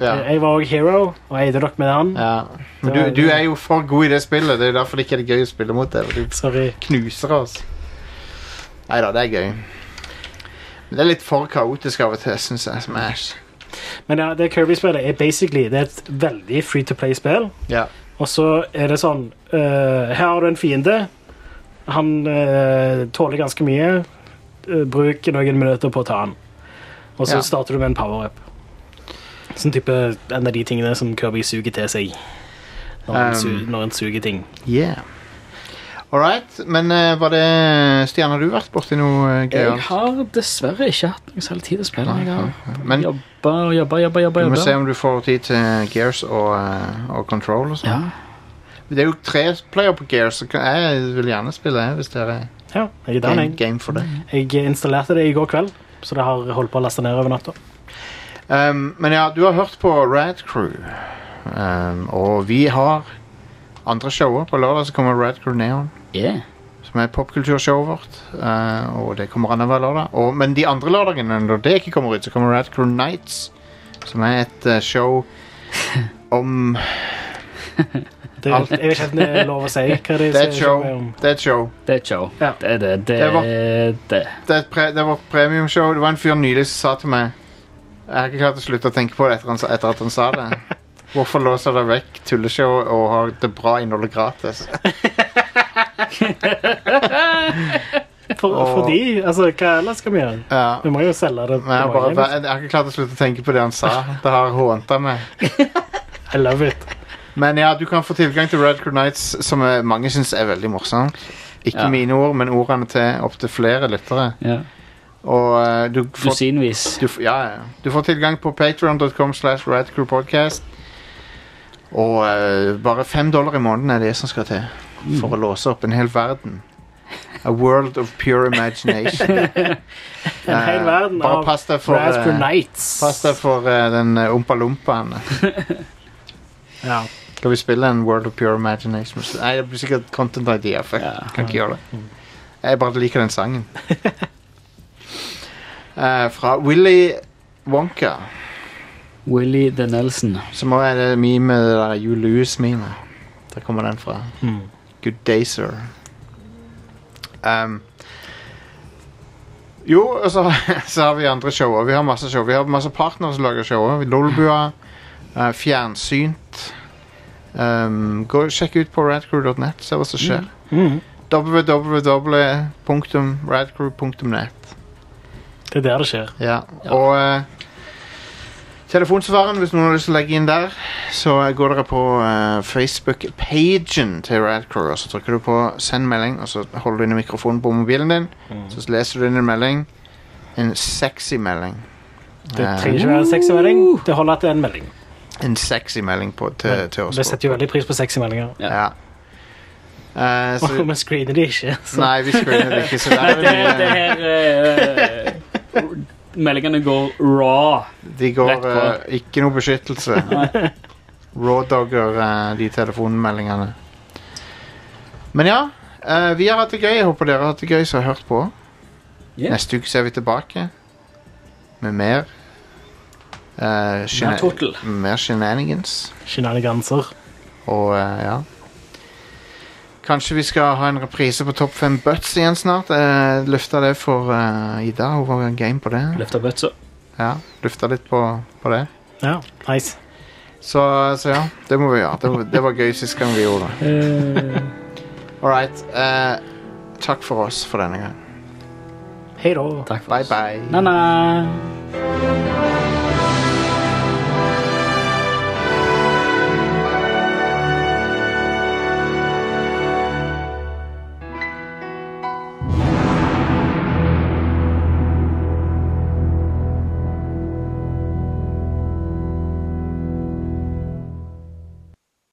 Speaker 1: Ja.
Speaker 3: Eh, Jeg var òg Hero, og eide dere med han.
Speaker 1: ja. Men du, du er jo for god i det spillet. Det er jo derfor det ikke er gøy å spille mot deg. for Du
Speaker 3: Sorry.
Speaker 1: knuser oss. Nei da, det er gøy. Men det er litt for kaotisk av og til, syns jeg. Smash.
Speaker 3: Men ja, det Kirby-spillet er basically Det er et veldig free to play-spill.
Speaker 1: Ja.
Speaker 3: Og så er det sånn eh, Her har du en fiende. Han eh, tåler ganske mye. Eh, bruk noen minutter på å ta han. Og så
Speaker 1: Ja.
Speaker 3: starter du med en power-up. Sånn type en av de tingene som Kirby suger til seg. Når,
Speaker 1: Um.
Speaker 3: han su når han suger ting.
Speaker 1: Yeah. All right. Men eh, var det Stian, har du vært borti noe eh,
Speaker 2: Jeg
Speaker 1: gøyalt?
Speaker 2: har dessverre ikke hatt noe særlig tid til å spille. Jeg har
Speaker 1: Men
Speaker 2: jobba og jobba, jobba, jobba.
Speaker 1: du må se
Speaker 2: jobba.
Speaker 1: om du får tid til Gears og, eh, og Control og
Speaker 2: Ja.
Speaker 1: sånn. Det er jo tre player på Gears, så kan- jeg vil gjerne spille jeg, hvis det er Mm.
Speaker 3: Ja, jeg er den,
Speaker 1: en
Speaker 3: jeg.
Speaker 1: game for det.
Speaker 3: Jeg installerte det i går kveld, så det har holdt på å laste ned over natta.
Speaker 1: Um, men ja, du har hørt på Rad Crew. Um, og vi har andre shower. På lørdag så kommer Rad Crew Neon.
Speaker 2: Yeah.
Speaker 1: Som er popkulturshowet vårt. eh, og det kommer annenhver lørdag. Og, men de andre lørdagene, når det ikke kommer ut, så kommer Rad Crew Nights. Som er et eh, show om
Speaker 3: Det, jeg vet ikke helt om det er lov å si hva det
Speaker 1: Det er et show.
Speaker 3: showet er om.
Speaker 1: Det er et show.
Speaker 2: Det er et show.
Speaker 3: Ja.
Speaker 2: Det er det. Det
Speaker 1: Det var-
Speaker 2: er det.
Speaker 1: Det er, et pre det er vårt premiumshow. Det var en fyr nylig som sa til meg Jeg har ikke klart å slutte å tenke på det etter, han, sa- etter at han sa det. Hvorfor låser dere vekk tulleshow og har det bra innholdet gratis?
Speaker 3: For, for de, altså, hva ellers skal vi gjøre?
Speaker 1: Ja.
Speaker 3: Vi må jo selge det.
Speaker 1: Men jeg,
Speaker 3: til
Speaker 1: bare,
Speaker 3: mange, liksom.
Speaker 1: jeg har ikke klart å slutte å tenke på det han sa. Det har hånta meg.
Speaker 3: I love it.
Speaker 1: Men ja, du kan få tilgang til Red Crew Nights, som eh, mange syns er veldig morsomt. Ikke
Speaker 2: Ja.
Speaker 1: mine ord, men ordene til opptil flere lyttere.
Speaker 2: Ja.
Speaker 1: Og eh, du får,
Speaker 2: Dusinvis.
Speaker 1: du, f- ja, ja. du får tilgang på patreon.com slash radcrewpodcast. Og eh, bare fem dollar i måneden er det som skal til
Speaker 3: Mm.
Speaker 1: for å låse opp en hel verden. A world of pure imagination.
Speaker 3: En hel
Speaker 1: Eh,
Speaker 3: verden
Speaker 1: bare
Speaker 3: av
Speaker 1: pass deg for,
Speaker 3: Raspberry
Speaker 1: eh,
Speaker 3: Nights.
Speaker 1: Pass deg for eh, den eh, ompa lompaen.
Speaker 3: Ja.
Speaker 1: Skal vi spille en World of Pure Imagination? Nei, det blir sikkert Content Idea. For jeg
Speaker 2: Ja.
Speaker 1: kan ikke gjøre det. Jeg bare liker den sangen. Eh, fra Willy Wonka,
Speaker 2: Willy the Nelson.
Speaker 1: som også er det meme, det der You Lose-memet. Der kommer den fra.
Speaker 3: Mm.
Speaker 1: Good day, sir. Um, jo, og så, så har vi andre show også. Vi har masse show. Vi har masse partnere som lager show. også. Lolbua, eh, Fjernsynt. Um, gå, sjekk ut på radcrew.net, se hva som skjer.
Speaker 3: Mm.
Speaker 1: www.radcrew.net.
Speaker 3: Det er der det skjer.
Speaker 1: Ja. Og eh, telefonsvareren, hvis noen har lyst til å legge inn der, så eh, går dere på eh, Facebook-pagen til Radcrew, og så trykker du på 'send melding', og så holder du inne mikrofonen på mobilen din, så leser du inn en melding. En sexy melding.
Speaker 3: Det
Speaker 1: Eh,
Speaker 3: trenger ikke være en sexy melding. Det holder at det er en melding.
Speaker 1: en sexy melding på, til, til oss.
Speaker 3: Vi setter jo veldig pris på sexy meldinger.
Speaker 1: ja. Eh,
Speaker 3: Og
Speaker 1: så,
Speaker 3: vi screener de ikke. Så.
Speaker 1: nei, vi screener det ikke, så der er
Speaker 2: Det her, det
Speaker 1: det mye
Speaker 2: her eh, Meldingene går raw.
Speaker 1: De går
Speaker 2: Rett på.
Speaker 1: eh, ikke noe beskyttelse. Rawdogger eh, de telefonmeldingene. Men ja, eh, vi har hatt det gøy. Jeg håper dere har hatt det gøy som har hørt på.
Speaker 2: Ja.
Speaker 1: Neste uke så er vi tilbake med mer. eh,
Speaker 2: Ja,
Speaker 1: shena-
Speaker 2: total.
Speaker 1: mer shenanigans.
Speaker 3: Shenaniganser.
Speaker 1: Og eh, ja Kanskje vi skal ha en reprise på Topp 5 Butts igjen snart. Jeg løfta det for eh, Ida. Hun var game på det.
Speaker 2: Løfter bøtsa.
Speaker 1: Ja, Lufta litt på, på det.
Speaker 3: Ja, nice.
Speaker 1: Så, så ja, det må vi gjøre. Det var, det var gøy sist gang vi gjorde det. All right. eh, takk for oss for denne gang.
Speaker 3: Hei da.
Speaker 2: Takk for
Speaker 1: Bye,
Speaker 2: oss.
Speaker 1: bye.
Speaker 2: Na-na.